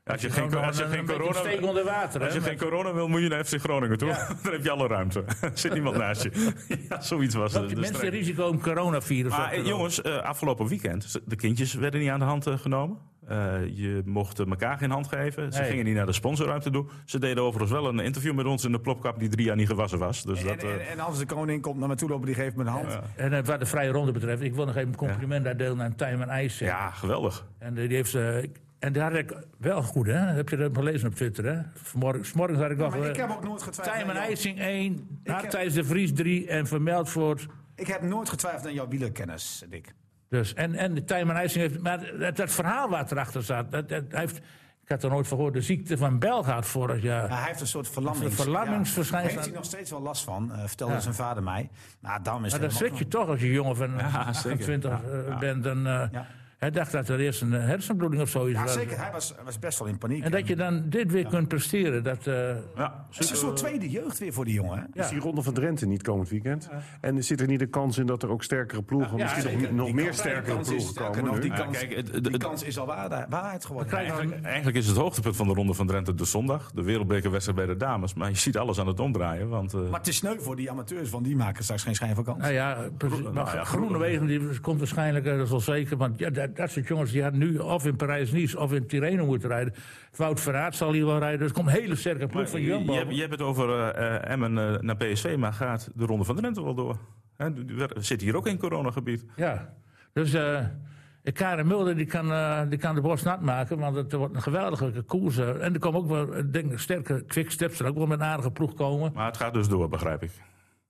Speaker 4: dat
Speaker 2: je
Speaker 4: hij
Speaker 2: geen-
Speaker 4: gewoon
Speaker 2: als je
Speaker 4: een-
Speaker 2: geen
Speaker 4: een beetje
Speaker 2: corona-
Speaker 4: een steek onder water.
Speaker 2: als
Speaker 4: hè,
Speaker 2: je
Speaker 4: maar-
Speaker 2: geen corona wil, moet je naar FC Groningen toe. Dan heb je alle ruimte. Er zit niemand naast je. ja, zoiets was
Speaker 4: loopt
Speaker 2: het. Dus
Speaker 4: die mensen risico om coronavirus. op
Speaker 2: Maar
Speaker 4: te
Speaker 2: eh,
Speaker 4: lopen.
Speaker 2: jongens, eh, afgelopen weekend, ze- de kindjes werden niet aan de hand eh, genomen. Eh, je mocht eh, elkaar geen hand geven. Ze
Speaker 4: Nee.
Speaker 2: gingen niet naar de sponsorruimte toe. Ze deden overigens wel een interview met ons in de plopkap die drie jaar niet gewassen was. Dus
Speaker 3: En,
Speaker 2: dat, eh,
Speaker 3: en, en als de koning komt naar me toe lopen, die geeft me een hand.
Speaker 4: En eh, wat de vrije ronde betreft, ik wil nog even een compliment uitdelen aan Tijmen IJssen.
Speaker 2: ja, geweldig.
Speaker 4: En eh, die heeft. eh, ik- en daar heb ik wel goed, hè? Heb je dat gelezen op Twitter, hè? Vanmorgen, vanmorgen had ik nog.
Speaker 3: Maar
Speaker 4: eh,
Speaker 3: ik heb ook nooit getwijfeld.
Speaker 4: Tijmen
Speaker 3: aan jou.
Speaker 4: IJsing 1,
Speaker 3: heb-
Speaker 4: Hartijs de Vries 3 en Van Meldvoort
Speaker 3: Ik heb nooit getwijfeld aan jouw wielerkennis, Dick.
Speaker 4: Dus, en, en de Tijmen IJsing heeft. Maar dat, dat verhaal wat erachter zat. Dat, dat, hij heeft, ik had er nooit van gehoord. De ziekte van Belgaard vorig jaar.
Speaker 3: Maar hij heeft een soort verlamming.
Speaker 4: Een verlammingsverschijnsel.
Speaker 3: Heeft hij nog steeds wel last van, eh, vertelde zijn vader mij. Nou, dan is het
Speaker 4: maar dan
Speaker 3: helemaal-
Speaker 4: schrik je toch als je jongen van
Speaker 2: Ja,
Speaker 4: van
Speaker 2: zeker.
Speaker 4: 20 eh, bent. Dan, eh,
Speaker 3: Ja.
Speaker 4: Hij dacht dat er eerst een eh, hersenbloeding of zoiets
Speaker 3: Ja,
Speaker 4: was.
Speaker 3: zeker. Hij was, was best wel in paniek.
Speaker 4: En dat je dan dit weer kunt presteren. Dat, eh,
Speaker 2: Ja,
Speaker 3: Het is een soort tweede jeugd weer voor die jongen. Hè?
Speaker 5: Is die Ronde van Drenthe niet komend weekend? En zit er niet de kans in dat er ook sterkere ploegen, misschien nog,
Speaker 3: Zeker.
Speaker 5: nog
Speaker 3: Die
Speaker 5: meer
Speaker 3: kans- die
Speaker 5: sterkere
Speaker 3: kans is-
Speaker 5: ploegen
Speaker 3: sterker
Speaker 5: komen?
Speaker 3: nog,
Speaker 5: nu?
Speaker 3: die
Speaker 2: Ja,
Speaker 3: kans,
Speaker 2: kijk, het-
Speaker 3: die
Speaker 2: het-
Speaker 3: kans is al waarde- waarheid geworden.
Speaker 4: krijg-
Speaker 2: Eigenlijk, eigenlijk is het hoogtepunt van de Ronde van Drenthe de zondag. De wereldbekerwedstrijd bij de dames. Maar je ziet alles aan het omdraaien. Want, eh,
Speaker 3: Maar het is sneu voor die amateurs, want die maken straks geen schijn van kans.
Speaker 4: nou ja, precies. maar
Speaker 2: nou ja,
Speaker 4: Groene Wegen die komt waarschijnlijk, eh, dat is wel zeker. Want ja, dat, dat soort jongens die hadden nu of in Parijs-Nice of in Tirreno moeten rijden. Wout Verraad zal hier wel rijden. Dus er komt een hele sterke ploeg van
Speaker 2: je, je,
Speaker 4: Jumbo.
Speaker 2: hebt- je hebt het over eh, eh, Emmen eh, naar PSV. Maar gaat de Ronde van Drenthe wel door? Hè, die- die- we zitten hier ook in coronagebied.
Speaker 4: Ja, dus eh Karen Mulder die kan, eh, die kan de borst nat maken, want het wordt een geweldige koers. eh. En er komen ook wel eh, denk, ik, sterke quicksteps, er ook wel met een aardige ploeg komen.
Speaker 2: Maar het gaat dus door, begrijp ik.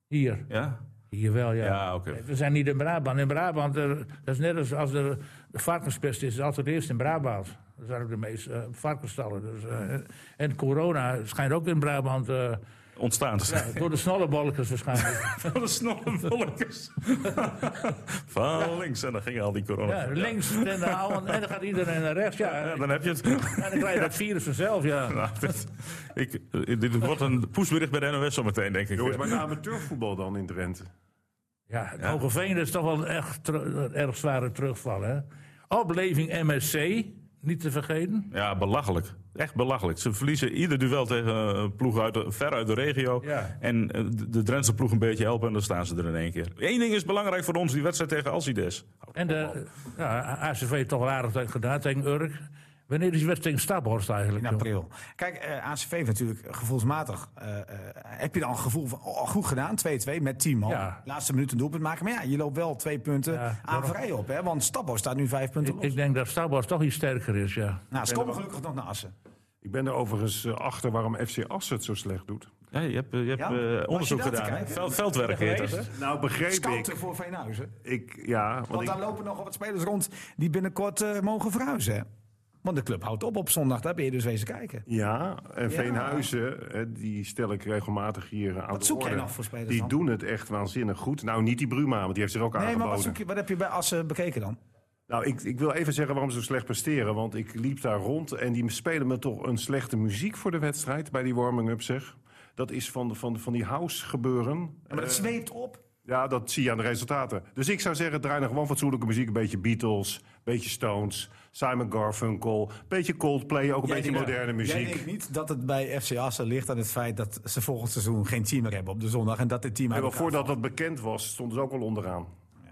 Speaker 4: Hier,
Speaker 2: Ja?
Speaker 4: hier wel, ja.
Speaker 2: Ja, oké.
Speaker 4: We zijn niet in Brabant. In Brabant, eh, dat is net als als er de varkenspest is, is het altijd eerst in Brabant. Dat zijn ook de meeste eh, varkensstallen. Dus, eh, en corona schijnt ook in Brabant eh,
Speaker 2: Ontstaan te zijn.
Speaker 4: door de snollebolkers waarschijnlijk.
Speaker 2: Van de snollebolkers. van links. En dan gingen al die corona.
Speaker 4: ja, links en de oude, en dan gaat iedereen naar rechts. Ja,
Speaker 2: Ja,
Speaker 4: en
Speaker 2: dan heb je het.
Speaker 4: dan krijg je dat virus vanzelf, ja.
Speaker 2: Nou, dit, ik, dit wordt een poesbericht bij de NOS zometeen, denk ik.
Speaker 5: Jongens, maar de amateurvoetbal dan in Drenthe?
Speaker 4: Ja, het Hogeveen is toch wel een echt teru- een erg zware terugval. Hè? Opleving MSC, niet te vergeten.
Speaker 2: Ja, belachelijk. Echt belachelijk. Ze verliezen ieder duel tegen eh, ploegen uit de, ver uit de regio.
Speaker 4: Ja.
Speaker 2: En eh, de- de Drentse ploeg een beetje helpen en dan staan ze er in één keer. Eén ding is belangrijk voor ons, die wedstrijd tegen Alcides.
Speaker 4: En de ja, ACV heeft toch wel aardig tegen gedaan tegen Urk. Wanneer is die wedstrijd tegen Staphorst eigenlijk?
Speaker 3: In
Speaker 4: joh?
Speaker 3: april. Kijk, eh, ACV heeft natuurlijk gevoelsmatig. eh, eh, heb je dan een gevoel van oh, goed gedaan, 2-2 met Timo.
Speaker 4: Ja.
Speaker 3: Laatste minuut een doelpunt maken. Maar ja, je loopt wel twee punten
Speaker 4: Ja,
Speaker 3: aan
Speaker 4: daarom.
Speaker 3: vrij op. Hè? Want Stabbo staat nu vijf punten
Speaker 4: Ik,
Speaker 3: los.
Speaker 4: ik denk dat Staphorst toch iets sterker is, ja.
Speaker 2: Oh,
Speaker 3: nou, ze komen gelukkig nog naar Assen.
Speaker 5: Ik ben er overigens eh, achter waarom FC Assen het zo slecht doet.
Speaker 2: Ja, je hebt, eh, je hebt
Speaker 3: Ja?
Speaker 2: eh,
Speaker 3: Was je
Speaker 2: onderzoek
Speaker 3: daar te
Speaker 2: gedaan. hè?
Speaker 3: kijken?
Speaker 2: Vel- veldwerk heet dat. hè?
Speaker 5: Nou begreep
Speaker 3: Scouten
Speaker 5: ik,
Speaker 3: voor Veenhuizen.
Speaker 5: ik ja, want
Speaker 3: Want
Speaker 5: ik,
Speaker 3: daar lopen nog wat spelers rond die binnenkort eh, mogen verhuizen. hè. Want de club houdt op op zondag. Daar ben je dus wezen kijken.
Speaker 5: ja, en Veenhuizen, eh, die stel ik regelmatig hier eh, aan de
Speaker 3: zoek jij
Speaker 5: orde.
Speaker 3: nog voor spelers
Speaker 5: die
Speaker 3: dan?
Speaker 5: doen het echt waanzinnig goed. Nou, niet die Bruma, want die heeft zich ook
Speaker 3: Nee, maar
Speaker 5: aangeboden.
Speaker 3: wat, zoek je, wat heb je bij Assen bekeken dan?
Speaker 5: Nou, ik, ik wil even zeggen waarom ze zo slecht presteren. Want ik liep daar rond en die spelen me toch een slechte muziek voor de wedstrijd bij die warming-up, zeg. Dat is van, de- van, van die house gebeuren.
Speaker 3: Maar
Speaker 4: Eh,
Speaker 3: dat zweept op.
Speaker 5: Ja, dat zie je aan de resultaten. Dus ik zou zeggen, draai nou gewoon fatsoenlijke muziek. Een beetje Beatles, een beetje Stones, Simon Garfunkel, een beetje Coldplay, ook een beetje
Speaker 3: denkt-
Speaker 5: moderne
Speaker 3: Jij
Speaker 5: muziek.
Speaker 3: denkt niet dat het bij FC Assen ligt aan het feit dat ze volgend seizoen geen team meer hebben op de zondag. En dat dit team
Speaker 5: En wel
Speaker 3: eigenlijk
Speaker 5: voordat dat bekend was, stonden ze ook al onderaan.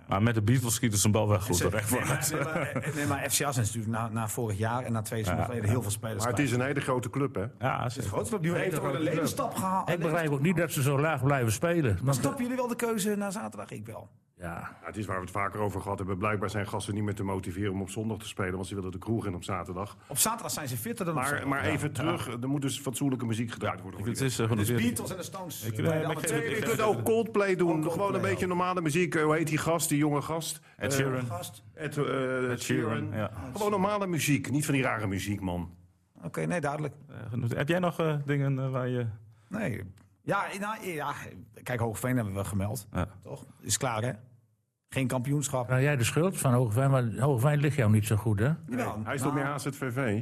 Speaker 2: Maar met de Beatles schieten ze een bal wel goed.
Speaker 3: Nee,
Speaker 2: hoor, echt waar.
Speaker 3: maar, nee, maar, eh, nee, maar FC Assen is natuurlijk na, na vorig jaar en na twee seizoenen geleden heel veel spelers.
Speaker 5: Maar het
Speaker 3: kwijt.
Speaker 5: is een hele grote club, hè?
Speaker 2: Ja, ze-
Speaker 3: Het grootste club die heeft ook een ledenstap gehaald.
Speaker 4: Ik begrijp ook niet dat ze zo laag blijven spelen. Want,
Speaker 3: Stappen jullie wel de keuze na zaterdag? Ik wel.
Speaker 4: ja,
Speaker 5: Ja, het is waar we het vaker over gehad hebben. Blijkbaar zijn gasten niet meer te motiveren om op zondag te spelen, want ze willen de kroeg in op zaterdag.
Speaker 3: Op zaterdag zijn ze fitter dan op
Speaker 5: Maar,
Speaker 3: zondag.
Speaker 5: maar even terug, er moet dus fatsoenlijke muziek gedraaid worden. voor
Speaker 2: het
Speaker 5: die
Speaker 2: is eh,
Speaker 3: Dus
Speaker 2: genoteerd.
Speaker 3: Beatles en de Stones.
Speaker 2: Ik-
Speaker 3: bij de
Speaker 2: ik-
Speaker 3: amateurs.
Speaker 2: ik-
Speaker 5: wedstrijd.
Speaker 2: ik-
Speaker 5: Je kunt ook Coldplay doen,
Speaker 3: Coldplay,
Speaker 5: gewoon een
Speaker 3: ja.
Speaker 5: beetje normale muziek. Eh, Hoe heet die gast, die jonge gast?
Speaker 2: Ed
Speaker 5: Eh,
Speaker 2: Sheeran.
Speaker 3: Gast.
Speaker 5: Ed, eh,
Speaker 2: Ed Sheeran,
Speaker 5: Sheeran.
Speaker 2: ja.
Speaker 5: Gewoon normale muziek, niet van die rare muziek, man.
Speaker 3: Oké, nee, duidelijk.
Speaker 2: Eh, genoteerd. Heb jij nog eh, dingen eh, waar je...
Speaker 3: Nee. Ja, nou, ja, kijk, Hoogveen hebben we gemeld.
Speaker 2: Ja.
Speaker 3: Toch? Is klaar, hè? Geen kampioenschap.
Speaker 4: nou, jij de schuld van Hogeveen, maar Hogeveen ligt jou niet zo goed, hè?
Speaker 3: Jawel.
Speaker 5: Hij is toch meer
Speaker 3: Nou,
Speaker 5: HZVV?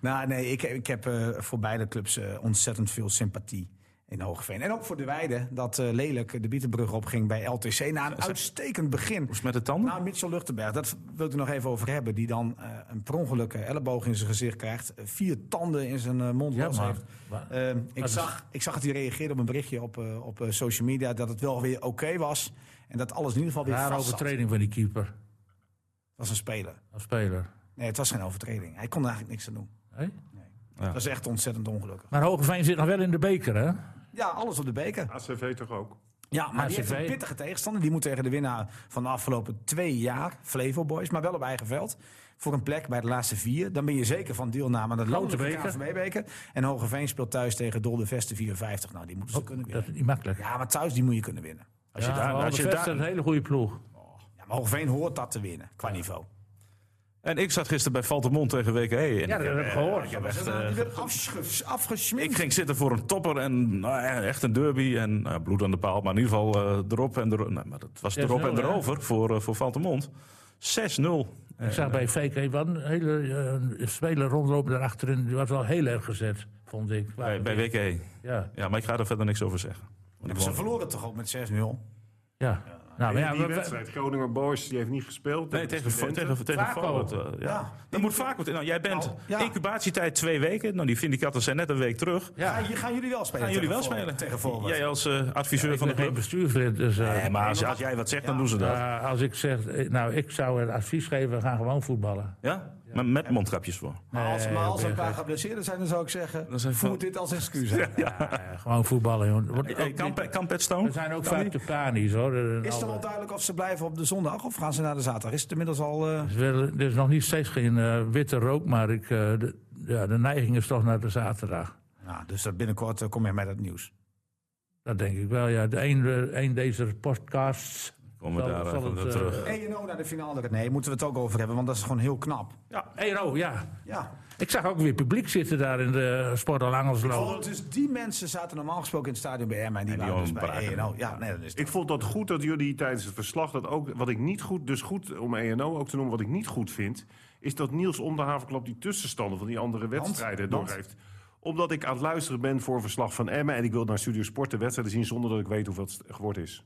Speaker 3: Nou, nee, ik, ik heb eh, voor beide clubs eh, ontzettend veel sympathie in Hoogveen. En ook voor de Weide, dat eh, lelijk de Bietenbrug opging bij LTC. Na een uitstekend begin.
Speaker 2: Is eh, met de tanden?
Speaker 3: Nou, Mitchell Luchtenberg, dat wil ik er nog even over hebben. Die dan eh, een per ongeluk eh, elleboog in zijn gezicht krijgt. eh, Vier tanden in zijn eh, mond
Speaker 4: Ja,
Speaker 3: los
Speaker 4: maar-
Speaker 3: heeft.
Speaker 4: maar-
Speaker 3: Eh, ik,
Speaker 4: dat is-
Speaker 3: zag, ik zag dat hij reageerde op een berichtje op, eh, op eh, social media... dat het wel weer oké was. En dat alles in ieder geval weer
Speaker 4: Rare
Speaker 3: vast zat. Dat
Speaker 4: overtreding van die keeper
Speaker 3: was een speler.
Speaker 4: als speler.
Speaker 3: Nee, het was geen overtreding. Hij kon er eigenlijk niks aan doen.
Speaker 4: Hé?
Speaker 2: Ja.
Speaker 3: Dat was echt ontzettend ongelukkig.
Speaker 4: Maar Hogeveen zit nog wel in de beker, hè?
Speaker 3: Ja, alles op de beker.
Speaker 5: HZV toch ook?
Speaker 3: Ja, maar die
Speaker 4: HCV.
Speaker 3: heeft een pittige tegenstander. Die moet tegen de winnaar van de afgelopen twee jaar, Flevo Boys, maar wel op eigen veld. Voor een plek bij de laatste vier. Dan ben je zeker van deelname aan de
Speaker 4: Grote
Speaker 3: landelijke
Speaker 4: beker.
Speaker 3: KNVB-beker. En Hogeveen speelt thuis tegen Dolde Vesten 54. Nou, die moeten ze kunnen winnen.
Speaker 4: Dat is niet makkelijk.
Speaker 3: Ja, maar thuis die moet je kunnen winnen.
Speaker 2: Als
Speaker 4: Ja,
Speaker 2: je daar...
Speaker 4: maar
Speaker 2: Als je
Speaker 4: Aldervest is
Speaker 2: daar
Speaker 4: een hele goede ploeg.
Speaker 3: Ja, maar Hogeveen hoort dat te winnen, qua niveau.
Speaker 2: en ik zat gisteren bij Valtemont tegen WKE. En
Speaker 4: Ja,
Speaker 2: ik
Speaker 4: dat
Speaker 2: heb-
Speaker 4: heb ik gehoord.
Speaker 3: Ja,
Speaker 2: echt,
Speaker 3: die
Speaker 2: eh,
Speaker 3: werd afges- afgesminkt.
Speaker 2: Ik ging zitten voor een topper en nou ja, echt een derby en nou, bloed aan de paal. Maar in ieder geval eh, erop en erop. Nou, maar dat was erop en
Speaker 4: 6-0, hè?
Speaker 2: erover voor, eh, voor Valtemont. 6-0.
Speaker 4: Ik zag bij VK wel een hele eh, speler rondlopen daarachterin. Die was wel heel erg gezet, vond ik.
Speaker 2: Bij, bij WK.
Speaker 4: Ja,
Speaker 2: Ja, maar ik ga er verder niks over zeggen. Want ik
Speaker 3: Ze
Speaker 2: woon-
Speaker 3: verloren toch ook met 6-0?
Speaker 4: ja. Nou, maar ja,
Speaker 5: die
Speaker 4: we- we-
Speaker 5: wedstrijd, Groningen Boys, die heeft niet gespeeld.
Speaker 2: Nee, tegen, tegen, tegen, tegen
Speaker 4: Vaco.
Speaker 2: Forward, eh, ja.
Speaker 3: Ja.
Speaker 2: Dan moet vaak wat in. Nou, jij bent
Speaker 3: Nou, ja.
Speaker 2: incubatietijd twee weken. Nou, die Vindikatten zijn net een week terug.
Speaker 3: Ja. gaan jullie wel spelen?
Speaker 2: Gaan jullie wel
Speaker 3: tegen voor-
Speaker 2: spelen?
Speaker 3: Tegen voorwaarts.
Speaker 2: Jij als eh, adviseur
Speaker 4: ik
Speaker 2: van de
Speaker 4: ben geen
Speaker 2: club.
Speaker 4: bestuurslid, dus... eh,
Speaker 2: Nee, maar als, als jij wat zegt, dan doen ze dat.
Speaker 4: eh, als ik zeg, eh, nou, ik zou het advies geven, ga gewoon voetballen.
Speaker 2: Ja? Maar met mondkapjes voor.
Speaker 3: Maar als, maar als er
Speaker 4: Nee,
Speaker 3: een paar
Speaker 4: oké.
Speaker 3: geblesseerd zijn, dan zou ik zeggen:
Speaker 2: Dan zijn
Speaker 3: voer
Speaker 2: van-
Speaker 3: dit als excuus aan.
Speaker 4: Ja, gewoon voetballen, joh. Want
Speaker 2: Eh,
Speaker 4: ook
Speaker 2: kan,
Speaker 4: dit-
Speaker 2: Pe- kan Pet Stone?
Speaker 4: we zijn ook
Speaker 2: Kan
Speaker 4: vaak
Speaker 2: die?
Speaker 4: te panisch, hoor. Er-
Speaker 3: Is het
Speaker 4: alle-
Speaker 3: al duidelijk of ze blijven op de zondag of gaan ze naar de zaterdag? Is het inmiddels al. eh,
Speaker 4: Er is wel- er is nog niet steeds geen eh, witte rook, maar ik, eh, de, ja, de neiging is toch naar de zaterdag.
Speaker 3: Nou, dus dat binnenkort eh, kom je met het nieuws.
Speaker 4: Dat denk ik wel, ja. De een, eh, een deze podcasts...
Speaker 2: Komen we
Speaker 4: zal-
Speaker 2: daar
Speaker 4: zal
Speaker 2: even
Speaker 4: het,
Speaker 2: naar
Speaker 4: eh,
Speaker 2: terug.
Speaker 3: ENO E naar de finale. Nee, moeten we het ook over hebben, want dat is gewoon heel knap.
Speaker 4: Ja, Ero, ja.
Speaker 3: Ja.
Speaker 4: Ik zag ook weer publiek zitten daar in de Sportal Angelslo.
Speaker 3: Want dus die mensen zaten normaal gesproken in het stadion bij Emma en die
Speaker 2: En die
Speaker 3: waren dus
Speaker 2: waren
Speaker 3: bij
Speaker 2: braken.
Speaker 3: ENO. Ja, nee, dat is
Speaker 5: Ik vond dat goed dat jullie tijdens het verslag dat ook, wat ik niet goed, dus goed om ENO ook te noemen, wat ik niet goed vind, is dat Niels om de havenklap die tussenstanden van die andere wedstrijden
Speaker 3: want-
Speaker 5: doorgeeft. Omdat ik aan het luisteren ben voor een verslag van Emmen en ik wil naar Studio Sport de wedstrijden zien zonder dat ik weet hoeveel het geworden is.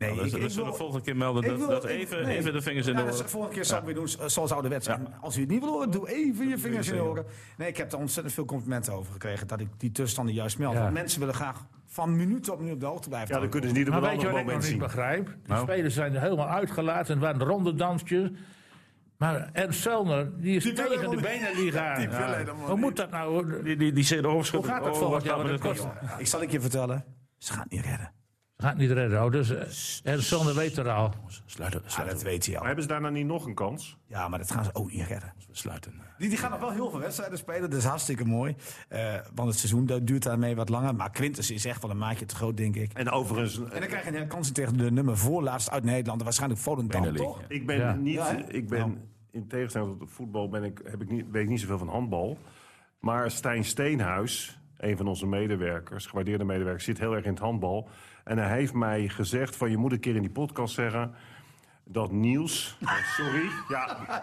Speaker 3: Nee,
Speaker 2: Nou, We
Speaker 3: ik- ik
Speaker 2: zullen
Speaker 3: wil-
Speaker 2: de volgende keer melden
Speaker 3: ik
Speaker 2: dat,
Speaker 3: wil-
Speaker 2: dat
Speaker 3: ik-
Speaker 2: even,
Speaker 3: nee.
Speaker 2: even de vingers in
Speaker 3: Ja,
Speaker 2: de
Speaker 3: dat is-
Speaker 2: oren.
Speaker 3: Volgende keer zal ik weer doen eh, zoals ouderwets. En Als u het niet wil horen, doe even je vingers in de oren. Nee, ik heb er ontzettend veel complimenten over gekregen dat ik die tussenstanden juist meld.
Speaker 4: Ja.
Speaker 3: Want mensen willen graag van minuut op minuut op de hoogte blijven.
Speaker 5: Ja, dan kunnen ze niet op
Speaker 4: Maar
Speaker 5: een
Speaker 4: weet je
Speaker 5: ander
Speaker 4: wat ik nog niet
Speaker 5: moment zien.
Speaker 4: begrijp? De
Speaker 2: Nou.
Speaker 4: spelers zijn er helemaal uitgelaten. Het waren rondedansjes. Maar Ernst Selner, die is
Speaker 3: Die wil
Speaker 4: tegen de
Speaker 3: helemaal niet.
Speaker 4: Beneliga.
Speaker 3: Die wil
Speaker 4: Ja.
Speaker 3: helemaal
Speaker 4: Hoe
Speaker 3: niet.
Speaker 4: moet dat nou?
Speaker 2: Die, die, die zitten
Speaker 4: Hoe gaat
Speaker 2: Oh,
Speaker 4: dat volgend jaar? Want dat kost,
Speaker 3: Ik zal ik je vertellen, ze gaan het niet redden.
Speaker 4: gaat niet redden. Oh, dus eh, Ernst Selner weet er al.
Speaker 2: Sluiten,
Speaker 3: Ja, dat
Speaker 2: sluiten,
Speaker 3: weet hij
Speaker 5: Maar
Speaker 3: al.
Speaker 5: hebben ze daarna niet nog een kans?
Speaker 3: Ja, maar dat gaan ze ook niet redden.
Speaker 2: sluiten.
Speaker 3: Die, die gaan nog wel heel veel wedstrijden spelen. Dat is hartstikke mooi. Eh, want het seizoen du- duurt daarmee wat langer. Maar Quintus is echt wel een maatje te groot, denk ik.
Speaker 5: En overigens,
Speaker 3: En dan krijg je een kansen tegen de nummer voorlaatst uit Nederland. Waarschijnlijk Volendam,
Speaker 2: Benelink,
Speaker 3: toch?
Speaker 2: ja.
Speaker 5: ik ben
Speaker 4: Ja.
Speaker 5: niet,
Speaker 3: Ja, hè?
Speaker 5: ik ben in tegenstelling tot voetbal ben ik, heb ik niet, weet ik niet zoveel van handbal. Maar Stijn Steenhuis, een van onze medewerkers, gewaardeerde medewerker, zit heel erg in het handbal. En hij heeft mij gezegd van je moet een keer in die podcast zeggen dat Niels, eh, sorry,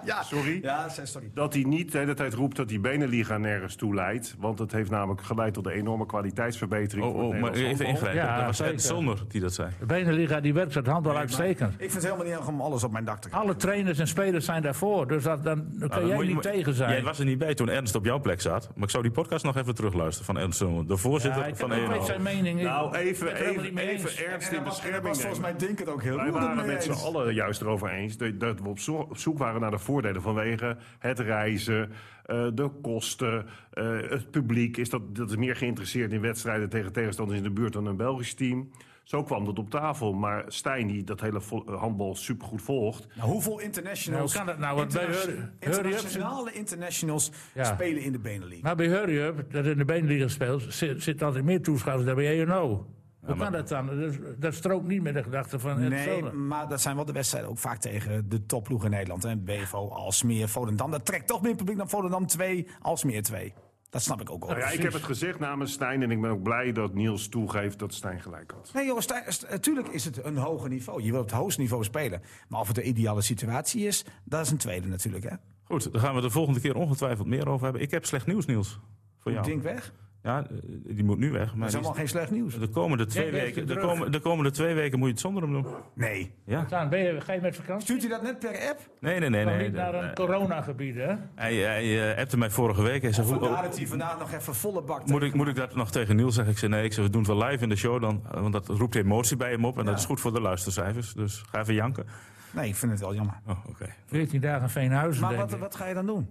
Speaker 5: ja, sorry.
Speaker 3: Ja, zei sorry.
Speaker 5: Dat hij niet de hele tijd roept dat die Beneliga nergens toe leidt. Want dat heeft namelijk geleid tot de enorme kwaliteitsverbetering.
Speaker 2: Oh,
Speaker 5: voor het
Speaker 2: oh, maar
Speaker 5: Nederlands
Speaker 2: even
Speaker 5: handbal.
Speaker 2: ingrijpen.
Speaker 4: Ja,
Speaker 2: dat was Ed
Speaker 4: zeker.
Speaker 2: Zonder die dat zei.
Speaker 4: De Beneliga die werkt het handbal uitstekend.
Speaker 3: Ik vind het helemaal niet erg om alles op mijn dak te krijgen.
Speaker 4: Alle trainers en spelers zijn daarvoor. Dus dat, dan kun
Speaker 2: Nou, dan
Speaker 4: jij
Speaker 2: moet je-
Speaker 4: niet
Speaker 2: moet-
Speaker 4: tegen zijn.
Speaker 2: Jij was er niet bij toen Ernst op jouw plek zat. Maar ik zou die podcast nog even terugluisteren van Ernst Zonder. De voorzitter
Speaker 4: Ja, ik
Speaker 2: van E
Speaker 4: heb ook
Speaker 2: ENO.
Speaker 4: weet zijn mening.
Speaker 5: Nou, even,
Speaker 4: ben er helemaal
Speaker 5: even,
Speaker 4: niet mee eens.
Speaker 5: even ernst in
Speaker 3: En dat was- en dat
Speaker 5: bescherming
Speaker 3: was
Speaker 5: nemen.
Speaker 3: volgens mij denk het ook heel
Speaker 5: Wij
Speaker 3: goed
Speaker 5: waren
Speaker 3: ermee
Speaker 5: met z'n
Speaker 3: eens.
Speaker 5: allen juist erover eens dat dat we op zo- op zoek waren naar de voordelen vanwege het reizen, eh, de kosten, eh, het publiek. Is dat, dat is meer geïnteresseerd in wedstrijden tegen tegenstanders in de buurt dan een Belgisch team. Zo kwam dat op tafel. Maar Stijn, die dat hele vo- eh, handbal supergoed volgt.
Speaker 3: Nou, hoeveel internationals...
Speaker 4: Nou, hoe kan dat nou? Want bij
Speaker 3: Interna-
Speaker 4: Hurry- Hurry Up-
Speaker 3: internationale internationals
Speaker 4: Ja.
Speaker 3: spelen in de Benelink.
Speaker 4: Maar bij Hurry Up, dat in de Beneliga speelt, zit, zit altijd meer toeschouwers dan bij ENO. Hoe kan dat dan? Dat, is- dat strookt niet met de gedachte van Ernst
Speaker 3: Nee,
Speaker 4: Selner.
Speaker 3: maar dat zijn wel de wedstrijden ook vaak tegen de topploegen in Nederland. En Bevo, Alsmeer, Volendam. Dat trekt toch meer publiek dan Volendam 2, Alsmeer 2. Dat snap ik ook al.
Speaker 5: Nou ja, ik heb het gezegd namens Stijn en ik ben ook blij dat Niels toegeeft dat Stijn gelijk had.
Speaker 3: Nee jongens, natuurlijk is het een hoger niveau. Je wilt op het hoogste niveau spelen. Maar of het de ideale situatie is, dat is een tweede natuurlijk. Hè?
Speaker 2: Goed, daar gaan we de volgende keer ongetwijfeld meer over hebben. Ik heb slecht nieuws, Niels. Voor jou.
Speaker 3: Dink weg.
Speaker 2: Ja, eh, die moet nu weg.
Speaker 3: Dat
Speaker 2: Maar
Speaker 3: is
Speaker 2: die
Speaker 3: helemaal
Speaker 2: is-
Speaker 3: geen slecht nieuws.
Speaker 2: de, komende twee
Speaker 4: Ja, die is
Speaker 2: weken, de,
Speaker 4: terug.
Speaker 2: komende, de komende twee weken moet je het zonder hem doen.
Speaker 3: Nee.
Speaker 2: Ja.
Speaker 4: Daan, ben je, ga je met vakantie?
Speaker 3: Stuurt u dat net per app?
Speaker 2: Nee, nee, nee.
Speaker 4: Nog
Speaker 2: nee.
Speaker 4: niet naar een
Speaker 2: Eh,
Speaker 4: coronagebied, hè?
Speaker 2: Hij, hij eh, appte mij vorige week. Hij zei, hoe, Oh.
Speaker 3: Vandaar dat hij vandaag nog even volle bak...
Speaker 2: moet, ik, moet ik dat nog tegen Niels zeggen? Ik zei, nee, ik zei, we doen het wel live in de show dan. eh, Want dat roept emotie bij hem op. En dat is goed voor de luistercijfers. Dus ga even janken.
Speaker 3: Nee, ik vind het wel jammer.
Speaker 2: Oh, oké.
Speaker 4: 14 dagen Veenhuizen,
Speaker 3: Maar
Speaker 4: denk
Speaker 3: wat,
Speaker 4: ik.
Speaker 3: wat ga je dan doen?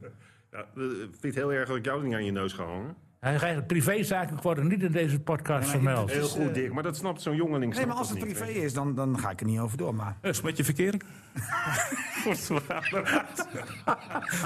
Speaker 5: Ja, eh, vind je het heel erg dat ik jou niet aan je neus ga hangen?
Speaker 4: Hij gaat privézaken worden niet in deze podcast
Speaker 3: Nee, maar je-
Speaker 4: vermeld.
Speaker 5: Heel goed, Dick, maar dat snapt zo'n jongeling.
Speaker 3: eh, Nee,
Speaker 5: snapt
Speaker 3: maar als
Speaker 5: dat
Speaker 3: het
Speaker 5: niet,
Speaker 3: privé
Speaker 5: hè?
Speaker 3: is, dan, dan ga ik er niet over door. Maar
Speaker 2: Dus met je verkering. Goed, we gaan eruit.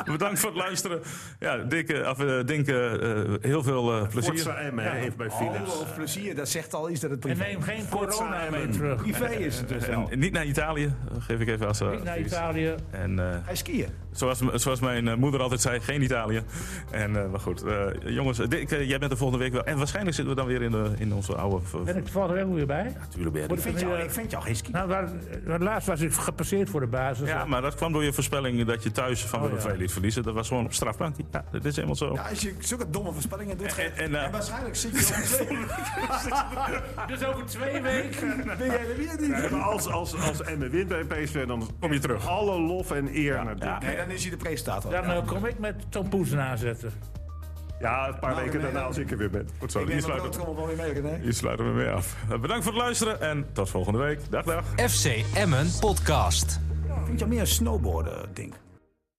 Speaker 2: Bedankt voor het luisteren. Ja, Dick, eh, af, eh, Dink, eh, eh, heel veel eh, plezier.
Speaker 5: Forza Emmen hè, heeft
Speaker 3: Oh.
Speaker 5: bij Philips.
Speaker 3: Hallo, plezier, dat zegt al iets dat het
Speaker 4: En
Speaker 3: privé
Speaker 4: neem
Speaker 3: is.
Speaker 4: geen corona mee terug.
Speaker 3: Privé is het dus wel.
Speaker 2: En niet naar Italië, eh, geef ik even als eh,
Speaker 4: Niet naar
Speaker 2: advies.
Speaker 4: Italië.
Speaker 2: En eh,
Speaker 3: Hij skiën.
Speaker 2: Zoals, m- zoals mijn eh, moeder altijd zei, geen Italië. En, eh, maar goed, eh, jongens, Dick, eh, jij bent er volgende week wel. En waarschijnlijk zitten we dan weer in, de, in onze oude... v-
Speaker 4: Ben ik toevallig ook weer bij?
Speaker 2: Natuurlijk ben je er.
Speaker 3: Ik vind jou, ik vind jou geen ski.
Speaker 4: Nou, waar, waar laatst was ik gepasseerd voor de basis.
Speaker 2: Ja, maar dat kwam door je voorspelling dat je thuis van Willem
Speaker 4: ja.
Speaker 2: II liet verliezen. Dat was gewoon op strafbank. Oh, Ja, dat is helemaal zo.
Speaker 3: Ja, als je zulke domme voorspellingen doet,
Speaker 2: En-
Speaker 3: en,
Speaker 2: en, eh,
Speaker 3: waarschijnlijk zit je op twee.
Speaker 4: Dus over twee weken.
Speaker 3: Ben jij er weer niet?
Speaker 5: Maar als, als, als Emme wint bij PSV, dan
Speaker 2: Kom je terug.
Speaker 5: alle lof en eer naar Dick.
Speaker 3: Nee, dan is hij de presentator.
Speaker 4: Dan eh, kom ik met Tom Poes aanzetten.
Speaker 5: Ja, een paar weken
Speaker 3: Nou, nee,
Speaker 5: daarna
Speaker 3: nee.
Speaker 5: als ik er weer ben.
Speaker 2: Goed zo,
Speaker 3: ik neem
Speaker 2: hier
Speaker 3: mijn
Speaker 2: sluiten,
Speaker 3: broodtrommel wel weer mee, René.
Speaker 2: hier sluiten we mee af. Eh, Bedankt voor het luisteren en tot volgende week. Dag, dag.
Speaker 1: FC Emmen Podcast.
Speaker 3: Ik vind jou meer een snowboarden, ding.